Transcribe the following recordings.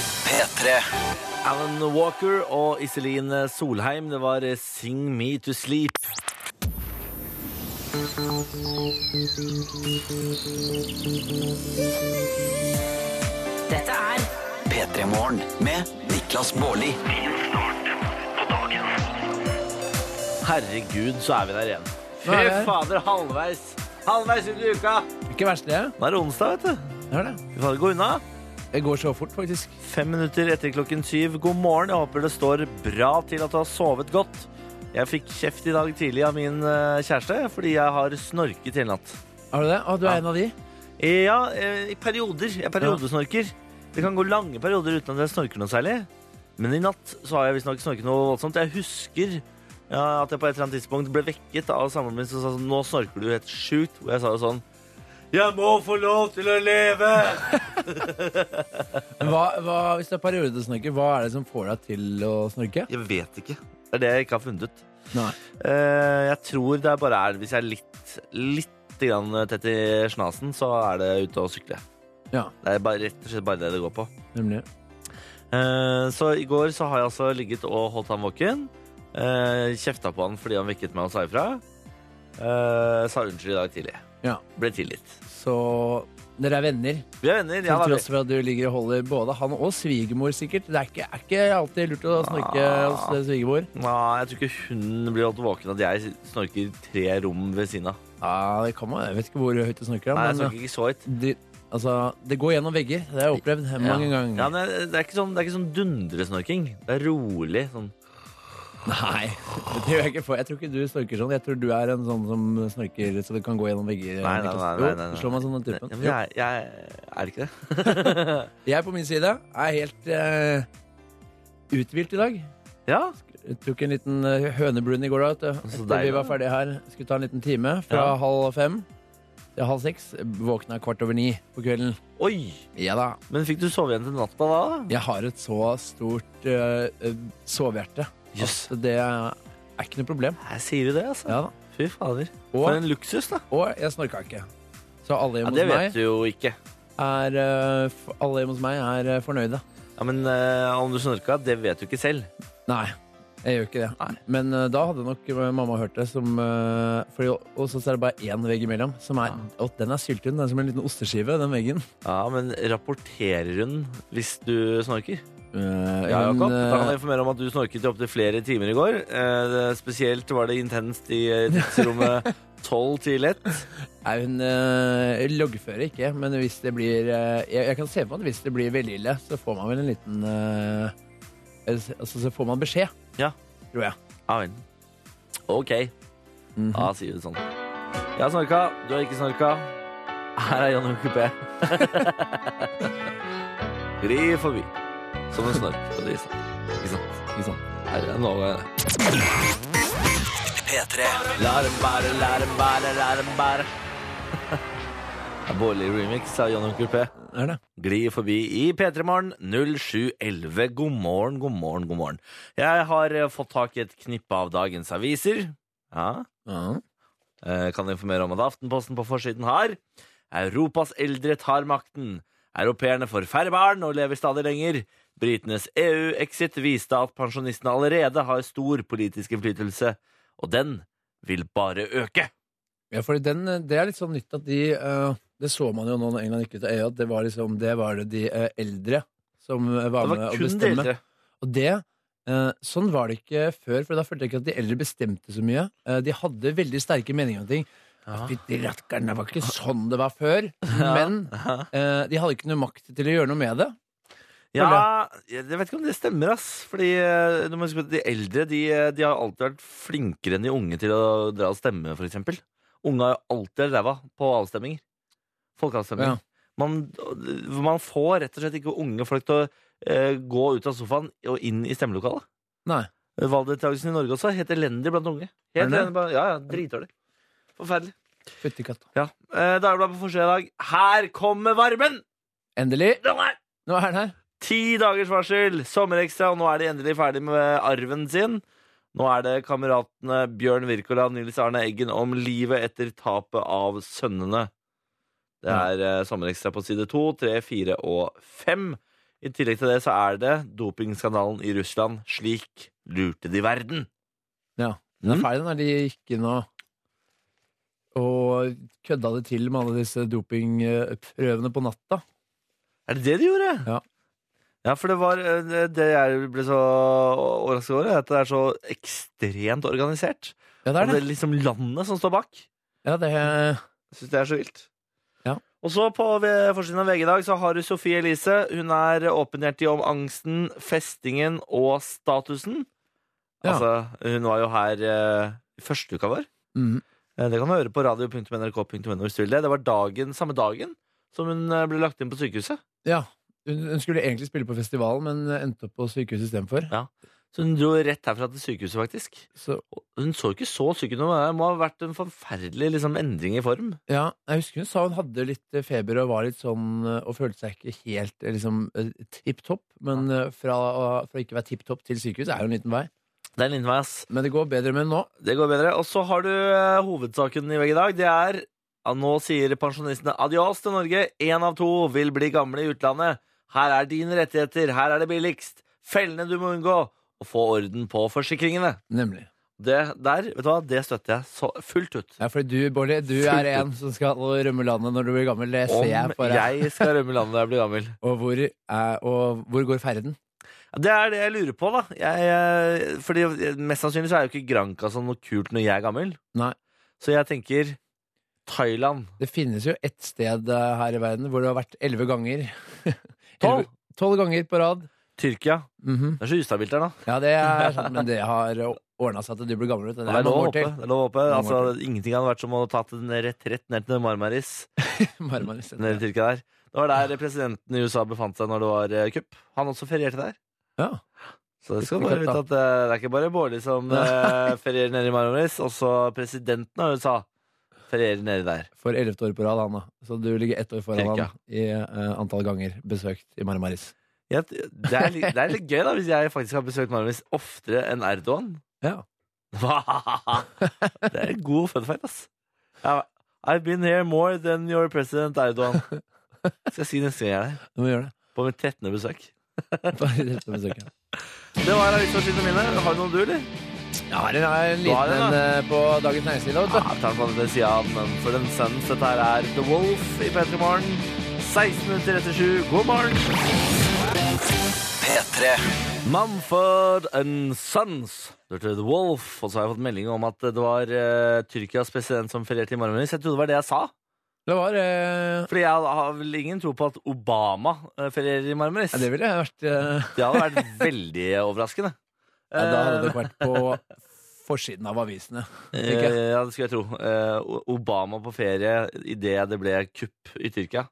P3. Alan Walker og Iselin Solheim, det var eh, Sing Me To Sleep. Dette er P3 Morgen med Niklas Baarli. Herregud, så er vi der igjen. Nå Fy er vi her. fader, halvveis. Halvveis ut i uka. Ikke verst, det. Nå er det onsdag, vet du. Hør det. Vi får gå unna. Det går så fort, faktisk. Fem minutter etter klokken syv. God morgen. Jeg håper det står bra til at du har sovet godt. Jeg fikk kjeft i dag tidlig av min eh, kjæreste fordi jeg har snorket hele natt. Har du det? Å, du er en av de? Eh, Ja, eh, i perioder. Jeg periodesnorker. Det kan gå lange perioder uten at jeg snorker noe særlig. Men i natt så har jeg visstnok snorket noe voldsomt. Jeg husker ja, at jeg på et eller annet tidspunkt ble vekket av samboeren min som sa sånn Nå snorker du helt sjukt. Og jeg sa jo sånn Jeg må få lov til å leve! Men Hva, hva, hvis det er periodesnorker, hva er det som får deg til å snorke? Jeg vet ikke. Det er det jeg ikke har funnet ut. Nei. Eh, jeg tror det bare er hvis jeg er litt, litt grann tett i snasen, så er det ute og sykle. Ja, Det er bare, rett og slett bare det det går på. nemlig. Eh, Så i går så har jeg altså ligget og holdt han våken. Eh, Kjefta på han fordi han vekket meg og sa ifra. Eh, Sa unnskyld i dag tidlig. Ja, Ble tilgitt. Så dere er venner, Vi er venner. til Ja, da, tross for at du ligger og holder både han og svigermor, sikkert. Det er ikke, er ikke alltid lurt å snorke Ah. hos eh, svigermor. Nei, jeg tror ikke hun blir holdt våken at jeg snorker tre rom ved siden av. Ja, det kan man. Jeg vet ikke hvor høyt du snorker, Nei, jeg men snorker ikke så høyt. det, altså, det går gjennom vegger. Det har jeg opplevd mange ja. ganger. Ja, men det er ikke sånn, det er ikke sånn dundresnorking. Det er rolig. Sånn. Nei, det gjør jeg ikke for. Jeg tror ikke du snorker sånn. Jeg tror du er en sånn som snorker så det kan gå gjennom vegger. Nei, nei, nei, Niklas. nei, nei, nei. Jo, slå meg sånn den Ja, typen. men jeg, jeg er det ikke det. Jo. Jeg på min side er helt eh, uthvilt i dag. Ja, Jeg tok en liten eh, hønebrun i går da, vet du. Så Etter deilig. vi var ferdige her. Skulle ta en liten time fra Ja. halv fem til halv seks. Våkna kvart over ni på kvelden. Oi! Ja da. Men fikk du sove igjen til natta da? da? Jeg har et så stort eh, eh, sovehjerte Jøss. at det er ikke noe problem. Her sier du det, altså. Ja da. Fy fader. Og- For en luksus, da. Og jeg snorka ikke. Så alle Ja, hjemme Det hos meg vet du jo ikke. er eh, f- Alle hjemme hos meg er eh, fornøyde. Ja, Men eh, om du snorka, det vet du ikke selv. Nei, jeg gjør ikke det. Nei. Men eh, da hadde nok eh, mamma hørt det. Som, eh, fordi, og så er det bare én vegg imellom. Som er, og den er syltynn. Den er som en liten osteskive, den veggen. Ja, Men rapporterer hun hvis du snorker? Eh, Ja, hun, Jakob. Da kan eh, jeg informere om at du snorket i opptil flere timer i går. Eh, det- spesielt var det intenst i eh, tidsrommet 12 til 1. nei, hun eh, loggfører ikke, men hvis det blir eh, jeg, jeg kan se for meg at hvis det blir veldig ille, så får man vel en liten eh, Altså, så får man beskjed. Ja. Tror jeg. Mhm, Ja vel. OK. Da sier vi det sånn. Jeg har snorka, du har ikke snorka. Her er Jan Kupé. Gli forbi som en snork. Og det er sant. Ikke sant? Ikke sant? Her er noe. P3. La dem bære, la dem bære, la dem bære. Det er Bårlig remix av Jan Kupé. Er det? Gli forbi i P3 Morgen 0711. God morgen, god morgen, god morgen. Jeg har eh, fått tak i et knippe av dagens aviser. Ja, Ja. Eh, kan informere om at Aftenposten på forsiden har Europas eldre tar makten. Europeerne får færre barn og lever stadig lenger. Britenes EU-exit viste at pensjonistene allerede har stor politisk innflytelse, og den vil bare øke. Ja, for den, det er litt sånn nytt at de eh, Det så man jo nå når England gikk ut av EU, at det var, liksom, det var det de eh, eldre som eh, var, Det var med å kun de bestemme. eldre. Og det, eh, sånn var det ikke før, for da følte jeg ikke at de eldre bestemte så mye. Eh, de hadde veldig sterke meninger om ting. Fytti rakkeren, det var ikke sånn det var før. Men eh, de hadde ikke noe makt til å gjøre noe med det. Ja, jeg vet ikke om det stemmer, ass. Fordi eh, du må huske på at de eldre de, eh, de har alltid vært flinkere enn de unge til å dra og stemme, for eksempel. Unge har jo alltid vært ræva på avstemminger. Folkeavstemninger. Ja. Man, man får rett og slett ikke unge folk til å eh, gå ut av sofaen og inn i stemmelokalet. Nei. Valgdeltakelsen i Norge også er helt elendig blant unge. Er Helt det det? elendig blant, ja, ja, Dritdårlig. Forferdelig. Fytti katta. Ja. Eh, Dagbladet på forsida i dag. Her kommer varmen! Endelig. Den er Nå er den her. Ti dagers varsel, sommerekstra, og nå er de endelig ferdig med arven sin. Nå er det kameratene Bjørn Wirkola og Nils Arne Eggen om livet etter tapet av sønnene. Det er eh, sommerekstra på side to, tre, fire og fem. I tillegg til det så er det dopingskandalen i Russland. Slik lurte de verden. Ja. Den er Mm. ferdig, den der de gikk inn og og kødda det til med alle disse dopingprøvene på natta. Er det det de gjorde? Ja. Ja, for det var eh, det jeg ble så overrasket over, er at det er så ekstremt organisert. Ja, det Og er det. det er liksom landet som står bak. Ja, det Jeg synes det er så vilt. Ja. Og så på V- forsiden av VG i dag så har du Sofie Elise. Hun er åpenhjertig om angsten, festingen og statusen. Ja. Altså, hun var jo her eh, i første uka vår. Mhm. Eh, Det kan du høre på radio.nrk.no hvis du vil det. Det var dagen, samme dagen som hun eh, ble lagt inn på sykehuset. Ja. Hun, hun skulle egentlig spille på festivalen, men endte opp på sykehuset istedenfor. Så hun dro rett herfra til sykehuset, faktisk. Så Og Hun så ikke så syk ut, men det må ha vært en forferdelig liksom, endring i form. Ja, jeg husker hun sa hun hadde litt eh, feber og var litt sånn eh, og følte seg ikke helt eh, liksom, tipp topp. Men eh, fra, å- fra ikke være tipp topp til sykehus er jo en liten vei. Det er en liten vei, ass. Men det går bedre med henne nå. Det går bedre. Og så har du eh, hovedsaken i VG i dag. Det er ja, nå sier pensjonistene adios til Norge. Én av to vil bli gamle i utlandet. Her er dine rettigheter. Her er det billigst. Fellene du må unngå. Og få orden på forsikringene. Nemlig. Det der, vet du hva, det støtter jeg så fullt ut. Ja, fordi du, Bård, du Fullt er en som skal rømme landet når du blir gammel. Det ser jeg på Om deg. jeg skal rømme landet da jeg blir gammel. Og, hvor, er, og hvor går ferden? Ja, Det er det jeg lurer på, da. Jeg, eh, fordi Mest sannsynlig så er jo ikke Granca sånn noe kult når jeg er gammel. Nei. Så jeg tenker Thailand. Det finnes jo ett sted eh, her i verden hvor du har vært elleve ganger. Tolv. Elleve- Tolv ganger på rad. Tyrkia. Mhm. Det er så ustabilt der, da. Ja, det er sant, men det har ordna seg til du blir gammel. Vet du. Det Det er er lov å mange år håpe. til. Det er lov å håpe. Noen år Altså, ingenting hadde vært som å ta til en retrett ned til Marmaris Marmaris. nede i Tyrkia der. Det var der presidenten i USA befant seg når det var eh, kupp. Han også ferierte der. Ja. Så det skal Ikke bare kupp, vite da. at eh, det er ikke bare Bårli som eh, ferierer nede i Marmaris. Også presidenten av USA ferierer nede der. for ellevte år på rad, han da. Så du ligger ett år foran Cirka. han i eh, antall ganger besøkt i Marmaris. Jeg- Det er, litt, det er litt gøy, da, hvis jeg faktisk har besøkt Marmaris oftere enn Erdogan. Ja. det er en god fun fact, ass. Ja, I've been here more than your president Erdogan. Skal jeg si neste gang jeg er der. Du må gjøre det. På mitt 13. besøk. Bare rett og besøke. Det var avisforsidene mine. Har du noen du, eller? Jeg har en, en Du har en, liten en da. eh, på Dagens Næringsliv. da, Ja, vet du. jeg tar den på den sida av Men for den Suns. Dette her er The Wolf i P3 Morgen. 16 minutter etter sju. God morgen! P3. Mumford and Sons. Du hørte The Wolf. Og så har jeg fått melding om at det var eh, Tyrkias president som ferierte i Marmaris. Jeg trodde det var det jeg sa. Det var eh, Fordi jeg har vel ingen tro på at Obama eh, ferierer i Marmaris. ja, Det ville jeg vært eh, Det hadde vært veldig overraskende. ja, Da hadde det vært på forsiden av avisene. Eh, Ikke? Ja, det skulle jeg tro. Eh, O- Obama på ferie idet det ble kupp i Tyrkia.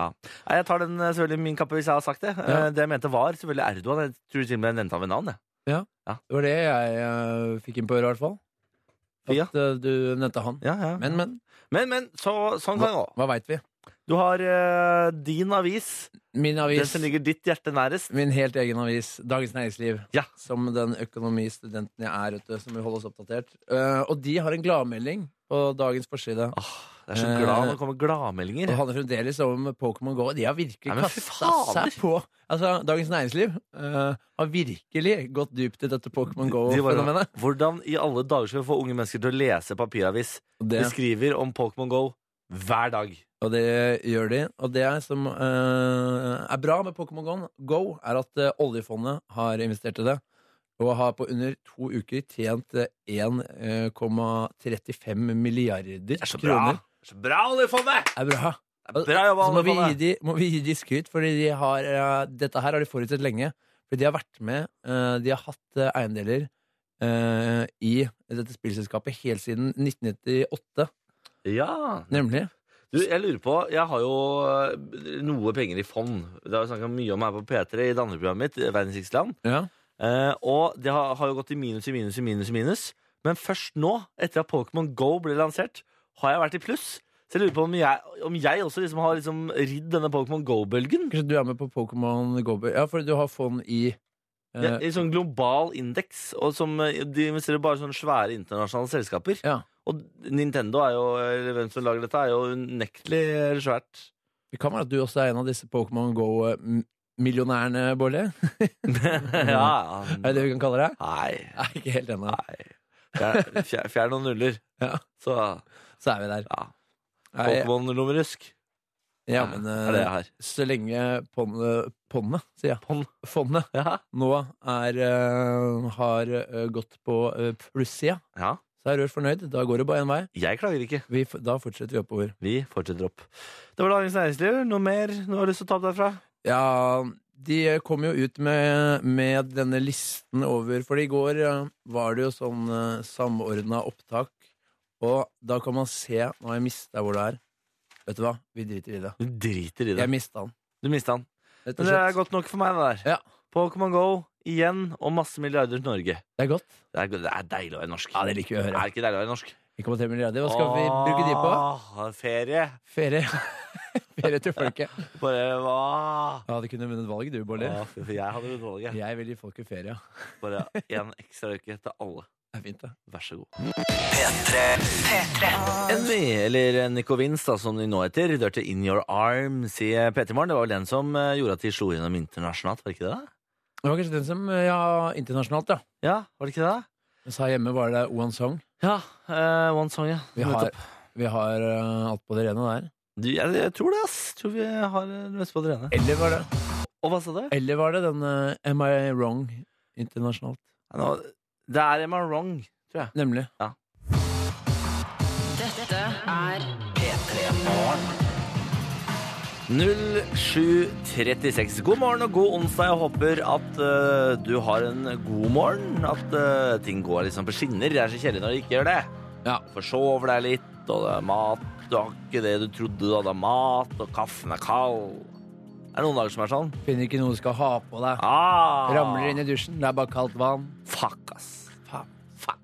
Ja. Nei, Jeg tar den eh, selvfølgelig i min kappe hvis jeg har sagt det. Eh, Ja. Det jeg mente var selvfølgelig Erdogan. Jeg tror til og med jeg nevnte ham ved navn. Jeg. Det var det jeg eh, fikk inn på øret, i hvert fall. At Ja. eh, du nevnte han. Ja, ja. Men, Men, men. men, så, sånn kan det gå. Hva veit vi? Du har eh, din avis, Min den avis. som ligger ditt hjerte nærest. Min helt egen avis, Dagens Næringsliv, Ja. som den økonomistudenten jeg er, vet du, som vil holde oss oppdatert. Eh, og de har en gladmelding på dagens forside. Åh, jeg er så glad når det kommer Og det gladmeldinger. handler fremdeles om Pokémon GO. De har virkelig Nei, men fy kasta fader! seg på Altså, Dagens Næringsliv eh, har virkelig gått dypt i dette Pokémon De bare, GO-fenomenet. hvordan i alle dager skal vi få unge mennesker til å lese papiravis? Og Vi det- skriver om Pokémon GO hver dag. Og det gjør de. Og det som eh, er bra med Pokémon Go, Go, er at eh, oljefondet har investert i det. Og har på under to uker tjent eh, 1,35 milliarder Det er så bra! kroner. Så bra, oljefondet! Det er bra! Det er Bra jobba, Så må vi, gi oljefondet! de, må vi gi de skryt, fordi de har, eh, dette her har de forutsett lenge. Fordi de har vært med, eh, de har hatt eh, eiendeler eh, i dette spillselskapet helt siden 1998, Ja. nemlig. Du, jeg lurer på Jeg har jo eh, noe penger i fond. Det har vi snakka mye om her på P3 i det andre programmet mitt, Verdens rikeste land. Ja. Eh, og det har, har jo gått i minus i minus i minus i minus. Men først nå, etter at Pokémon Go ble lansert, har jeg vært i pluss. Så jeg lurer på om jeg, om jeg også liksom har liksom ridd denne Pokémon Go-bølgen. Kanskje du er med på Pokémon Go? Ja, for du har fond i eh, Ja, I sånn global indeks, og som eh, de investerer bare i sånne svære internasjonale selskaper. Ja. Og Nintendo er jo, eller hvem som lager dette, er jo unektelig svært. Det kan være at du også er en av disse Pokémon Go-millionærene, Bårdli. ja, Er det det vi kan kalle deg? Ah. Nei. Nei, ikke helt ennå. nei. Fjern, fjer- fjern noen nuller, Ja, så så er vi der. ja. Nei, Pokémon-lommerusk. ja, men eh, er det jeg har. så lenge pondet, pondet sier jeg, Pon- fondet Ja. nå er, eh, har eh, gått på uh, plussida, ja. så er Rør fornøyd. Da går det bare én vei. Jeg klager ikke. Vi, f- da fortsetter vi oppover. Vi fortsetter opp. Det var Dagens Næringsliv. Noe mer du har lyst til å ta opp derfra? Ja, de kom jo ut med, med denne listen over For i går eh, var det jo sånn uh, samordna opptak, og da kan man se Nå har jeg mista hvor det er. Vet du hva? Vi driter i det. Du driter i det. Jeg mista den. Du mista den. Rett og Men det er slett. godt nok for meg, det der. Ja. Pokémon Go igjen og masse milliarder til Norge. Det er godt. Det er, det er deilig å være norsk. Ja, det liker vi å er høre. det ikke deilig å være norsk? 1,3 milliarder. Hva skal vi bruke de på? Åh, Ferie. Ferie. Ferie til folket. Bare hva? Ja, du kunne vunnet valget, du, Bårdli. Åh, fy- Jeg hadde vunnet valget. Jeg vil gi folket ferie. ja. Bare én ekstra uke til alle. Det er fint, det. Vær så god. NV, eller Nico Vince, da, som de nå heter, dørte In Your Arms i P3 Morgen. Det var vel den som eh, gjorde at de slo gjennom internasjonalt, var det ikke det? Det var kanskje den som eh, Ja, internasjonalt, ja. Ja, var det ikke det? Mens her hjemme var det One Song. Ja. eh, one Song, ja. Vi har, vi har eh, alt på det rene der. Du, jeg, jeg tror det, ass. Tror vi har eh, det meste på det rene. Eller var det Og hva sa du? Eller var det den eh, Am I Wrong internasjonalt? Nå, det er Am I Wrong, tror jeg. Nemlig. Dette er 0736. God morgen og god onsdag. Jeg håper at eh, du har en god morgen. At eh, ting går liksom på skinner. Det er så kjedelig når de ikke gjør det. Ja. Forsover deg litt, og det er mat. Du har ikke det du trodde du hadde av mat, og kaffen er kald. Det er noen dager som er sånn. Finner ikke noe du skal ha på deg. Ah, Ramler inn i dusjen, det er bare kaldt vann. Fuck, ass. Faen. Fuck.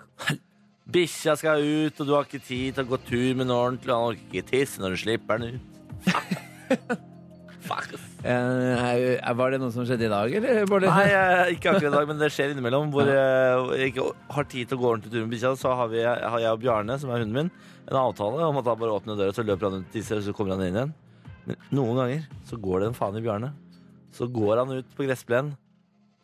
Bikkja skal ut, og du har ikke tid til å gå tur med den ordentlig. og Han orker ikke tisse når du slipper den ut. Fuck. Fuck. ass. Eh, er- er- var det noe som skjedde i dag, eller? Bård? Nei, eh, ikke akkurat i dag, men det skjer innimellom. Hvor eh, hvor jeg ikke har tid til å gå ordentlig tur med bikkja, så har, vi, har jeg og Bjarne, som er hunden min, en avtale om at han bare åpner døra, så løper han ut og tisser, og så kommer han inn igjen. Men noen ganger så går det en faen i Bjarne. Så går han ut på gressplenen,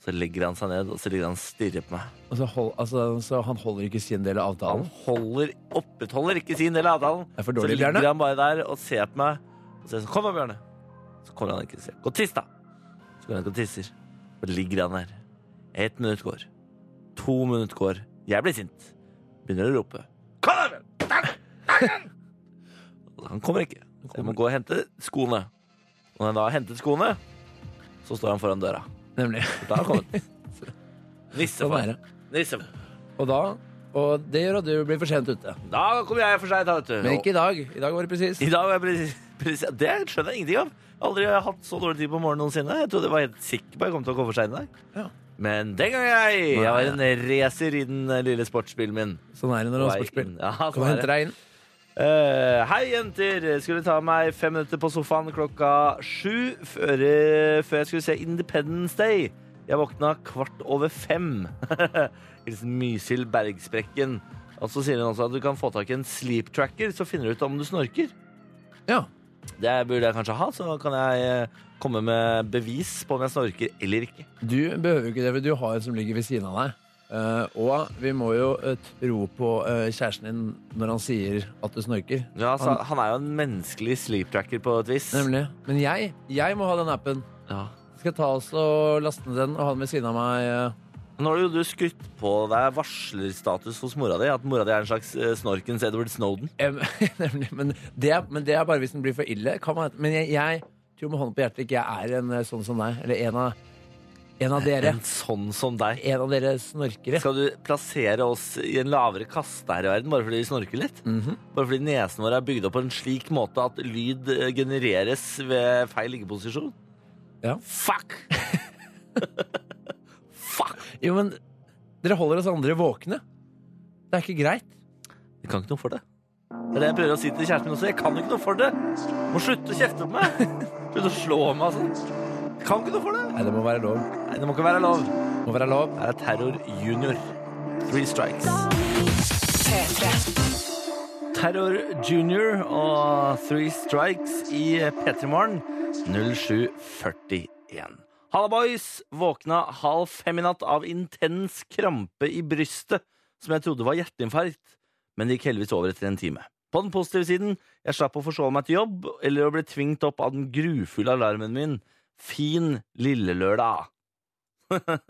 så legger han seg ned, og så ligger han og stirrer på meg. Og så, hold, altså, så han holder ikke sin del av Han avtalen? holder, opprettholder ikke sin del av avtalen. Det er for dårlig, så ligger Bjørne. han bare der og ser på meg. Og så sier jeg sånn, kom da, Bjørne. Så kommer han ikke og sier, gå og tiss da. Så går han ikke og tisser. Og ligger han der. Ett minutt går. To minutter går. Jeg blir sint. Begynner å rope. Kom da, Bjørne! Og Han kommer ikke. Så jeg må gå og hente skoene. Og når jeg da har hentet skoene, så står han foran døra. Nemlig. Da har han kommet. Nisse Sånn for. er det. Nisse for. Og da Og det gjør at du blir for sent ute. Da kommer jeg for seg, da, vet du. Men ikke i dag. I dag var det presis. I dag var jeg presis, presis, Det skjønner jeg ingenting av. Aldri har jeg hatt så dårlig tid på morgenen noensinne. Jeg trodde jeg var helt sikker på at jeg kom til å komme for seint i dag. Ja. Men den gang jeg Jeg var en racer i den eh, lille sportsbilen min. Sånn er det når du har sportsspill. Ja, Kom og sånn er hente det. deg inn. Eh, hei, jenter. Skulle ta meg fem minutter på sofaen klokka sju før, eh, før jeg skulle se Independence Day. Jeg våkna kvart over fem. Hilsen Mysil Bergsprekken. Og så sier hun også at du kan få tak i en sleep tracker, så finner du ut om du snorker. Ja. Det burde jeg kanskje ha, så kan jeg eh, komme med bevis på om jeg snorker eller ikke. Du behøver jo ikke det, for du har en som ligger ved siden av deg. Eh, og vi må jo eh, tro på eh, kjæresten din når han sier at du snorker. Ja, så, Han- han er jo en menneskelig sleep tracker på et vis. Nemlig. Men jeg, jeg må ha den appen. Ja. Skal ta oss og laste ned den og ha den ved siden av meg. eh. Nå har jo du skutt på deg varslerstatus hos mora di, at mora di er en slags eh, snorkens Edward Snowden. eh, Em, Nemlig. Men det, er, men det er bare hvis den blir for ille. Kan man, men jeg, jeg tror med hånden på hjertet ikke jeg er en eh, sånn som deg. Eller en av, en av dere. En sånn som deg. En av dere snorkere. Skal du plassere oss i en lavere kaste her i verden bare fordi vi snorker litt? Mhm. Bare fordi nesen vår er bygd opp på en slik måte at lyd eh, genereres ved feil liggeposisjon? Ja. Fuck! Fuck! Jo, men dere holder oss andre våkne. Det er ikke greit. Jeg kan ikke noe for det. Det er det jeg prøver å si til kjæresten min også. Jeg kan ikke noe for det. Må slutte å kjefte på meg. Slutte å slå meg og sånn. Jeg kan ikke noe for det. Nei, det må være lov. Nei, det må ikke være lov. Det må være lov. Her er Terror Junior. Three strikes. Terror Junior og Three Strikes i P3 Morgen 0741. Halla, boys! Våkna halv fem i natt av intens krampe i brystet, som jeg trodde var hjerteinfarkt, men det gikk heldigvis over etter en time. På den positive siden, jeg slapp å forsove meg til jobb, eller å bli tvingt opp av den grufulle alarmen min. Fin lille lørdag.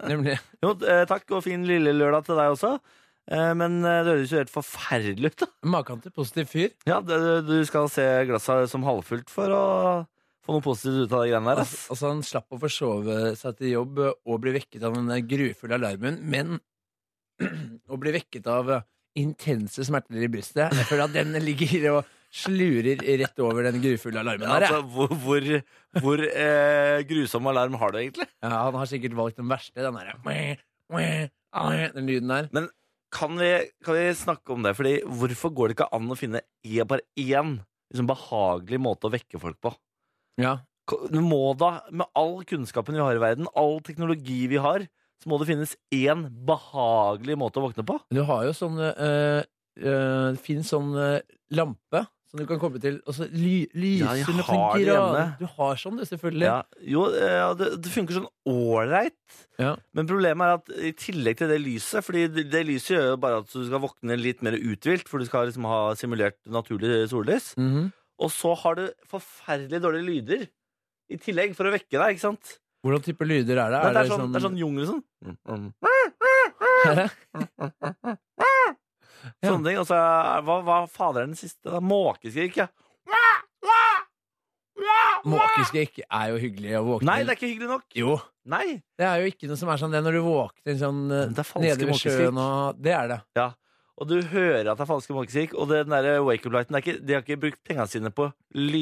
Nemlig. Jo, eh, takk, og fin lille lørdag til deg også. Eh, Men eh, det høres jo helt forferdelig ut, da. Makan til positiv fyr. Ja, det, du skal se glasset som halvfullt for å få noe positivt ut av de greiene der. Ass. Altså, altså, han slapp å forsove seg til jobb eh, og bli vekket av den eh, grufulle alarmen, men å bli vekket av eh, intense smerter i brystet Jeg føler at den ligger og slurer rett over den grufulle alarmen Ja, der. altså, jeg. hvor hvor, hvor eh, grusom alarm har du egentlig? Ja, han har sikkert valgt den verste, den derre Den lyden der. Kan vi, kan vi snakke om det? Fordi Hvorfor går det ikke an å finne e- bare én liksom, behagelig måte å vekke folk på? Ja. Ko- Du må da, med all kunnskapen vi har i verden, all teknologi vi har, så må det finnes én behagelig måte å våkne på. Du har jo sånn øh, øh, Fin sånn øh, lampe som du kan koble til, og så ly, lyser Ja, jeg den opp har en det grad. hjemme. Du har sånn, du, selvfølgelig. Ja, jo, eh, ja, det, det funker sånn ålreit, Ja. men problemet er at i tillegg til det lyset Fordi det, det lyset gjør jo bare at du skal våkne litt mer uthvilt, for du skal liksom ha simulert naturlig sollys. Mhm. Og så har du forferdelig dårlige lyder i tillegg for å vekke deg, ikke sant? Hvordan type lyder er det? Men det, er sånn, det er sånn jungel sånn. Er det? Ja. Sånne ting. Og så er- hva, hva fader er den siste? da? Måkeskrik, ja. Måkeskrik er jo hyggelig å våkne Nei, det til. er ikke hyggelig nok. Jo. Nei. Det er jo ikke noe som er sånn det er når du våkner sånn øh, Men det er falske nede ved måkeskrik. sjøen og Det er det. Og du hører at det er falske måkeskrik, og den der wake up lighten det er ikke, De har ikke brukt pengene sine på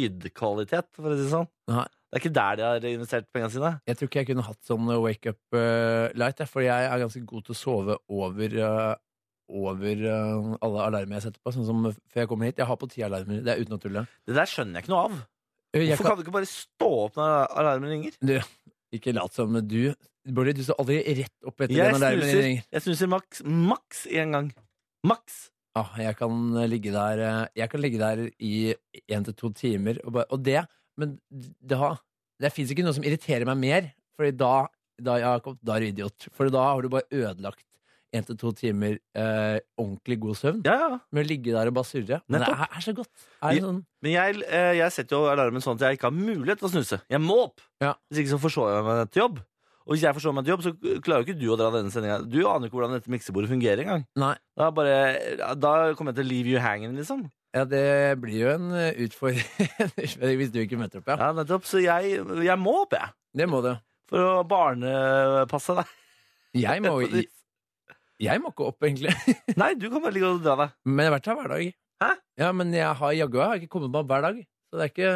lydkvalitet, for å si det sånn. Nei. Det er ikke der de har investert pengene sine. Jeg tror ikke jeg kunne hatt sånn øh, wake up øh, light, jeg, for jeg er ganske god til å sove over øh, over øh, alle alarmer jeg setter på, sånn som før jeg kommer hit. Jeg har på ti alarmer. Det er uten å tulle. Det der skjønner jeg ikke noe av. Øh, Jeg Hvorfor kan, kan du ikke bare stå opp når alarmen ringer? ikke lat som du Bårdli, du står aldri rett opp etter Jeg den alarmen din snuser. ringer. Jeg snuser maks maks én gang. Maks. Ah, jeg, kan ligge der, eh, jeg kan ligge der i én til to timer. Og, bare, og det Men det, har- det fins ikke noe som irriterer meg mer, Fordi da, da, Jakob, da er du idiot. For da har du bare ødelagt én til to timer eh, ordentlig god søvn Ja, ja. med å ligge der og bare surre. Men det er, er så godt. Er det sånn, Men jeg, eh, jeg setter jo alarmen sånn at jeg ikke har mulighet til å snuse. Jeg må opp! Ja. Hvis ikke så forsover jeg meg til jobb. Og hvis jeg forsover meg til jobb, så klarer jo ikke du å dra denne sendinga. Du aner jo ikke hvordan dette miksebordet fungerer engang. nei. Da, bare, da kommer jeg til å leave you hanging, liksom. Ja, det blir jo en eh, utfordring hvis du ikke møter opp, ja. Ja, nettopp. Så jeg, jeg må opp, jeg. Det må du. For å barnepasse deg. Jeg må, på jo- ditt- jeg må ikke opp, egentlig. Nei, du kan bare ligge og dra deg. Men jeg har vært her hver dag. Hæ? Ja, men jeg har jaggu jeg har ikke kommet meg opp hver dag. Så det er ikke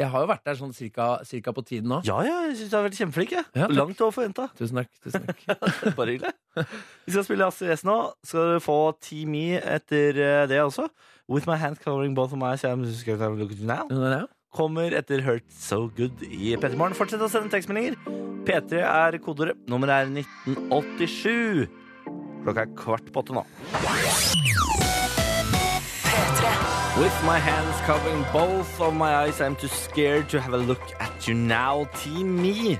Jeg har jo vært der sånn cirka, cirka på tiden nå. Ja, ja, jeg syns du har vært kjempeflink. jeg. Ja, takk. Langt over forventa. Tusen takk. tusen takk Bare hyggelig. Vi skal spille Astrid S nå. Skal du få Team E etter eh, det også. With my hand covering both of my eyes, I'm just gonna look at you now. Den der, ja. Kommer etter Hurt So Good i P3 Morgen. Fortsett å sende tekstmeldinger. P3 er kodeordet. Nummeret er 1987. Klokka er kvart på åtte nå. With my hands covering both of my eyes, I'm too scared to have a look at you now, team me.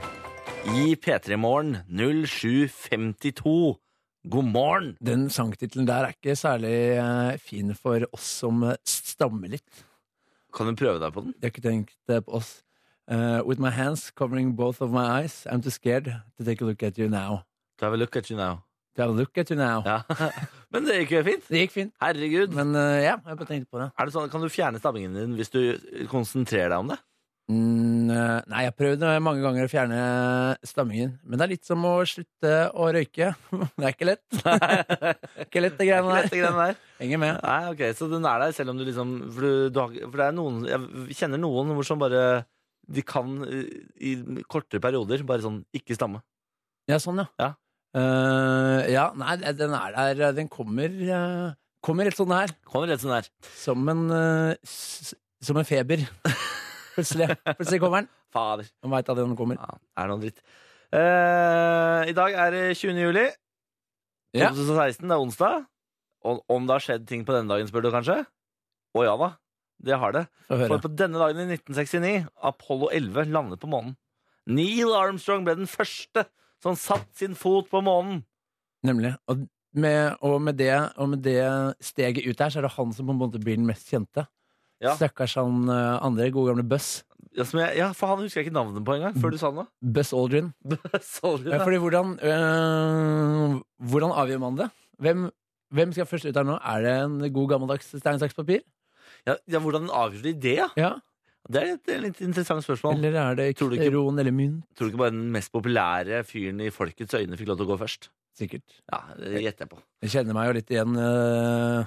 I P3 Morgen 0752. God morgen! Den sangtittelen der er ikke særlig eh, fin for oss som eh, stammer litt. Kan du prøve deg på den? De har ikke tenkt eh, på oss. Eh, with my hands covering both of my eyes, I'm too scared to take a look at you now. To have a look at you now. To have a look at you now. Ja. Men det gikk jo fint. Det gikk fint, Herregud. men eh, ja, jeg bare tenkte på det. Er det sånn, kan du fjerne stammingen din hvis du konsentrerer deg om det? Mm, eh, nei, jeg har prøvd eh, mange ganger å fjerne stammingen. Men det er litt som å slutte å røyke. Det er ikke lett. Det er ikke lett, det Det er ikke greiene lett, det der. greiene der. Henger med. Nei, ok, Så den er der, selv om du liksom For, du, du har, for det er noen Jeg kjenner noen hvor som bare De kan eh, i kortere perioder bare sånn ikke stamme. Ja, sånn, ja. Ja. Eh, ja, nei, den er der. Den kommer, eh, kommer helt sånn her. Kommer rett sånn der. Som en, eh, s som en feber. Plutselig, plutselig kommer den. Fader. Man veit at den kommer. Ja, er noe dritt. Eh, I dag er det 20. juli Ja. 2016. Det er onsdag. Og om det har skjedd ting på denne dagen, spør du kanskje? Å ja da, det har det. Få høre. For på denne dagen i 1969, Apollo 11 landet på månen. Neil Armstrong ble den første som satt sin fot på månen. Nemlig. Og med, og, med det, og med det steget ut der, så er det han som på en måte blir den mest kjente. Ja. Stakkars han eh, andre gode gamle Buzz. Ja, som jeg, ja, for han husker jeg ikke navnet på engang, før du sa det nå. Buzz Aldrin. Sorry, Ja, da. fordi hvordan, øh, hvordan avgjør man det? Hvem, hvem skal først ut her nå? Er det en god gammeldags stein, saks, papir? ja, ja, hvordan avgjør de det, ja? Ja. Det er et, et litt interessant spørsmål. Eller er det Tror du ikke- roen eller mynt? Tror du ikke bare den mest populære fyren i folkets øyne fikk lov til å gå først? Sikkert. Ja, det gjetter jeg på. Jeg kjenner meg jo litt igjen. øh,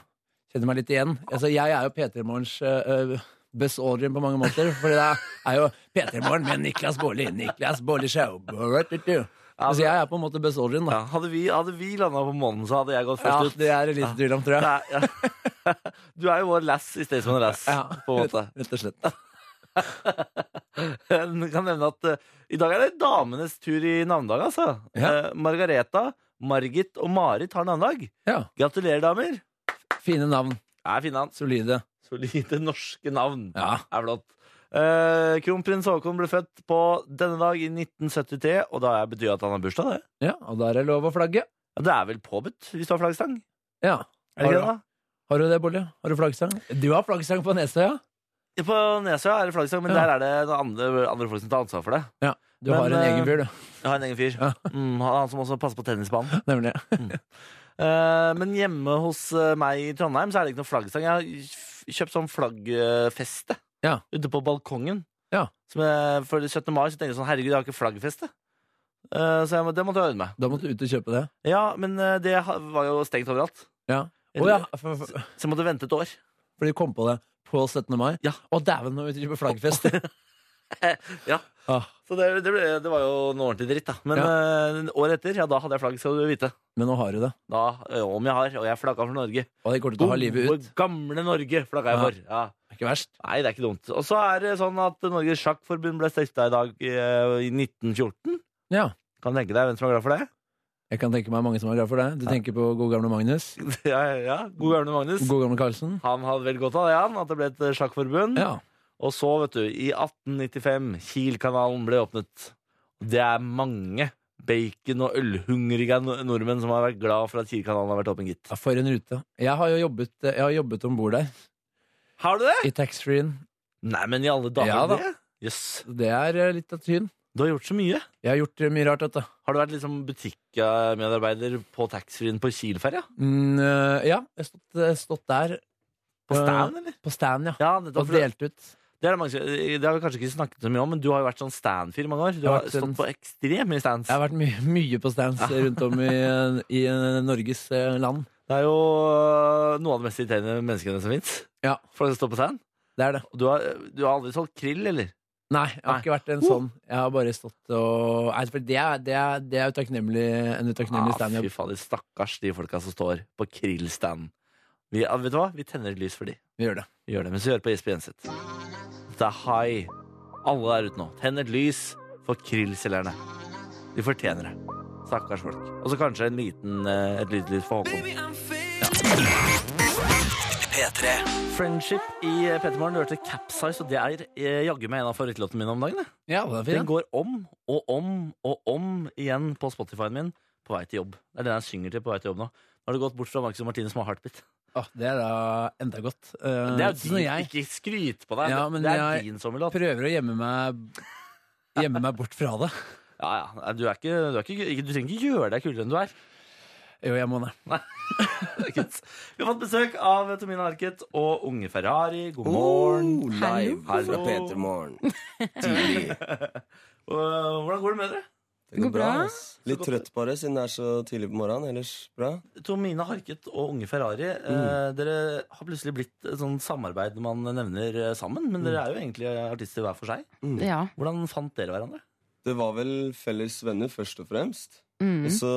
kjenner meg litt igjen. Altså, jeg er jo P3 Morgens øh, Buzz Aldrin på mange måter. For det er jo P3 Morgen med Niklas Baarli. Niklas Baarli Show. Altså, jeg er på en måte Buzz Aldrin, da. Ja, hadde vi, hadde vi landa på månen, så hadde jeg gått Ja, først ut. det er det lite tvil om, tror jeg. Nei, ja. Du er jo vår lass i stedet som en lass, Ja, på en måte. rett- Rett og slett. Jeg kan nevne at eh, i dag er det damenes tur i navnedag, altså. Ja. Eh, Margareta, Margit og Marit har navnedag. Ja. Gratulerer, damer. Fine navn. Det er fine navn. Solide. Solide norske navn. Ja. Det er flott. Eh, Kronprins Haakon ble født på denne dag i 1973, og da betyr det at han har bursdag, det. Ja, og da er det lov å flagge. Ja, Det er vel påbudt hvis du har flaggstang? Ja. Er det ikke Har det, da? Har du det, Bolle? Har du flaggstang? Du har flaggstang på Nesøya. Ja, På Nesøya er det flaggstang, men Ja. der er det noen andre, andre folk som tar ansvar for det. Du Men, har en eh, egen fyr, du. Jeg har en egen fyr. Ja. Mm, han han som også passer på tennisbanen. Nemlig. Eh, men hjemme hos eh, meg i Trondheim så er det ikke noe flaggstang. Jeg har f- kjøpt sånn flaggfeste Ja. ute på balkongen. Ja. Som jeg, for 17. mai så tenker jeg sånn Herregud, jeg har ikke flaggfeste. Eh, så jeg, må- det måtte jeg øve meg. Da måtte du ut og kjøpe det. Ja, men eh, det ha- var jo stengt overalt. Ja. Å ja, for, for, Så jeg måtte vente et år. for du kom på det på 17. mai? Ja. Å, dæven, nå er vi ute på flaggfest! Ja. ah, Så det, det, ble, det var jo noe ordentlig dritt, da. Men eh, året etter, ja, da hadde jeg flagg, skal du vite. men nå har du det. Da, eh, om jeg har, og jeg flagga for Norge. Og det går til å ha livet ut. gamle Norge flagga Ja. jeg for. Ja. Det er ikke verst. Nei, det er ikke dumt. Og så er det sånn at Norges Sjakkforbund ble stifta i dag eh, i 1914. Ja. Kan du tenke deg hvem som er glad for det? Jeg kan tenke meg mange som er glad for det. Du tenker på god gamle Magnus. ja, ja, ja. God gamle Magnus. God gamle Karlsen. Han hadde vel godt av det, han, at det ble et eh, sjakkforbund. Ja. Og så, vet du, i 1895, Kielkanalen ble åpnet. Det er mange bacon- og ølhungrige no- nordmenn som har vært glad for at Kielkanalen har vært åpen, gitt. Ja, For en rute. Jeg har jo jobbet, jeg har jobbet om bord der, Har du det? i taxfree-en. Nei, men i alle dager. Ja da. det. Jøss. Det er eh, litt av tyn. Du har gjort så mye. Jeg har gjort eh, mye rart, vet du. Har du vært liksom butikkmedarbeider på taxfree-en på Kiel-ferja? Mm, eh, ja, jeg har stått, jeg har stått der På Eh, stand, eller? på stand, ja. Ja, nettopp, Og for det, delt ut. det, er det, mange, som- det har vi kanskje ikke snakket så mye om, men du har jo vært sånn stand-fyr i mange år. Du har har vært en- stått på ekstremt mye stands. Jeg har vært mye, mye på stands rundt om i, eh, i Norges eh, land. Det er jo øh, noe av det mest irriterende menneskene som fins. Ja. For å stå på stand. Det er det. Og Du har, øh, du har aldri solgt krill, eller? Nei, jeg har Nei. ikke vært en Uh. sånn. Jeg har bare stått og Nei, for det er, det er, det er utakknemlig, en utakknemlig Ah, fy standup. fader, stakkars de folka som står på krillstanden. Vi, ja, vet du hva? Vi tenner et lys for de. Vi gjør det. Vi gjør det mens vi hører på Jesper Jenseth. Det er high. Alle der ute nå. Tenn et lys for krillselgerne. De fortjener det. Stakkars folk. Og så kanskje en liten, øh, et lite lys for Håkon. P3. Friendship i eh, Petermorgen. Du hørte Capsize, og det er eh, jaggu meg en av favorittlåtene mine om dagen. det. Ja, det er Den fint. går om og om og om igjen på Spotify-en min på vei til jobb. Det er den jeg synger til på vei til jobb nå. Nå har det gått bort fra Marcus og Martine som har heartbeat. Å, det er da enda godt. Eh, Det er så din, når jeg ikke skryt på deg. Ja, men det er jeg- din sommerlåt. prøver å gjemme meg Gjemme meg bort fra det. Ja, ja. Nei, Du, er ikke, du, er ikke, ikke- du trenger ikke gjøre deg kulere enn du er. Jo, jeg må det. Folkens. Vi har fått besøk av Tomine Harket og unge Ferrari. Oh. God morgen. Live fra Hallo. P3 Morgen. Tidlig. Uh, Hvordan går det med dere? Det går bra. ass. Litt trøtt bare, siden det er så tidlig på morgenen. Ellers bra. Tomine Harket og Unge Ferrari, eh, dere har plutselig blitt et sånn samarbeid man nevner eh, sammen, men dere er jo egentlig artister hver for seg. Ja. Hvordan fant dere hverandre? Det var vel felles venner, først og fremst. Mm. Og så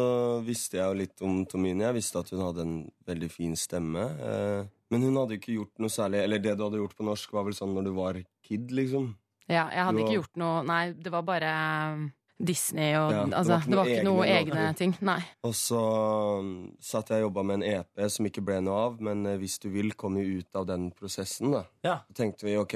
visste jeg jo litt om Tomine. Jeg visste at hun hadde en veldig fin stemme. eh, Men hun hadde jo ikke gjort noe særlig Eller det du hadde gjort på norsk, var vel sånn når du var kid, liksom. ja. Jeg hadde Du ikke har- gjort noe Nei, det var bare um, Disney og Ja, det var altså, ikke Det var noe ikke noe egne egne ting. Nei. Og så um, satt jeg og jobba med en EP som ikke ble noe av, men eh, hvis du vil, kom jo ut av den prosessen, da. Ja. Så tenkte vi ok,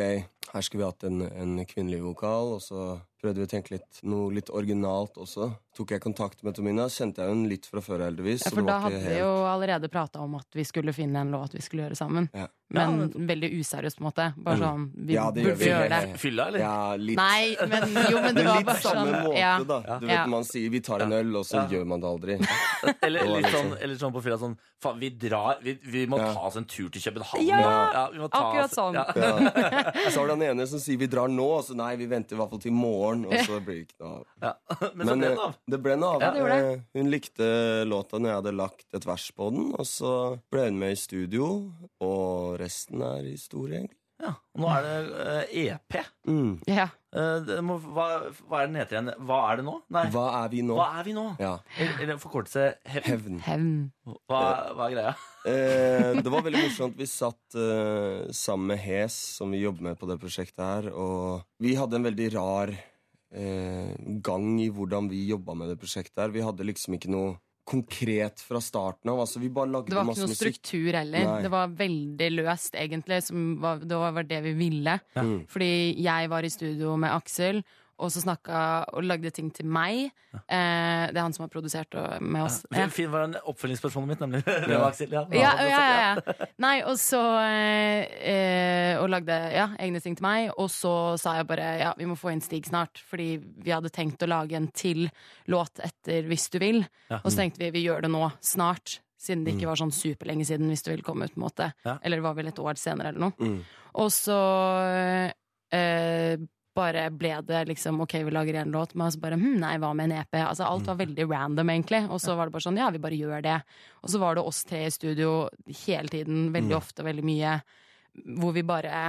her skulle vi hatt en, en kvinnelig vokal, og så prøvde vi å tenke litt, noe litt originalt også. Tok jeg kontakt med Tomina, kjente jeg hun litt fra før, heldigvis. Ja, så for det da var hadde ikke vi helt- jo allerede prata om at vi skulle finne en låt vi skulle gjøre sammen. Ja. Mm. Men Ja, veldig useriøst, på en måte. Bare sånn Vi Ja, det gjør burde vi. gjøre det. Ja, Fylla, eller? Ja, litt. Nei, men jo, men det Men var litt bare sånn samme måte, ja. da. Du vet, Ja. Man sier 'vi tar en øl', og så gjør man det aldri. Eller, Det var litt litt sånn, eller sånn på fylla sånn Faen, vi drar Vi, vi må Ja. ta oss en tur til København. Ja, vi må ta akkurat oss- sånn. Ja. Ja. Altså, Så har du han ene som sier 'vi drar nå', og så 'nei, vi venter i hvert fall til i morgen', og så blir det ikke noe av. Ja. Men, så Men ble eh, det av. det ble noe av. Ja, det gjorde Eh, Hun likte låta når jeg hadde lagt et vers på den, og så ble hun med i studio, og resten er historie, egentlig. Ja. Nå er det eh, EP. Mm. ja. Eh, det må, hva, hva er den heter igjen? Hva er det nå? Nei, hva, Hva er vi nå? er vi nå? Ja, Eller- Eller forkortelse hev. Hevn. Hevn. Hva, hva er greia? Eh, det var veldig morsomt. Vi satt eh, sammen med Hes, som vi jobber med på det prosjektet her, og vi hadde en veldig rar eh, gang i hvordan vi jobba med det prosjektet her. Vi hadde liksom ikke noe konkret fra starten av. Altså, vi bare Det lagde var ikke masse noe musikk. struktur heller. Nei. Det var veldig løst, egentlig. Som var, det var det vi ville. Mm. Fordi jeg var i studio med Aksel, og så snakka og lagde ting til meg. Eh, det er han som har produsert og, med oss. Fin, fin var en oppfølgingsspørsmålet mitt, nemlig. Det var Aksel, ja. Ja, ja, ja, ja. Nei, og så eh, eh, Og lagde ja, egne ting til meg. Og så sa jeg bare ja, vi må få inn Stig snart, fordi vi hadde tenkt å lage en til låt etter Hvis du vil. Ja. Og så tenkte vi vi gjør det nå, snart. Siden det ikke var sånn superlenge siden Hvis du vil komme ut. på en måte Ja. Eller det var vel et år senere eller noe. Mm. Og så eh, bare ble det liksom OK, vi lager en låt, men så bare hm, nei, hva med en EP? Altså alt var veldig random, egentlig. Og så var det bare sånn ja, vi bare gjør det. Og så var det oss tre i studio hele tiden, veldig ofte, veldig mye. Hvor vi bare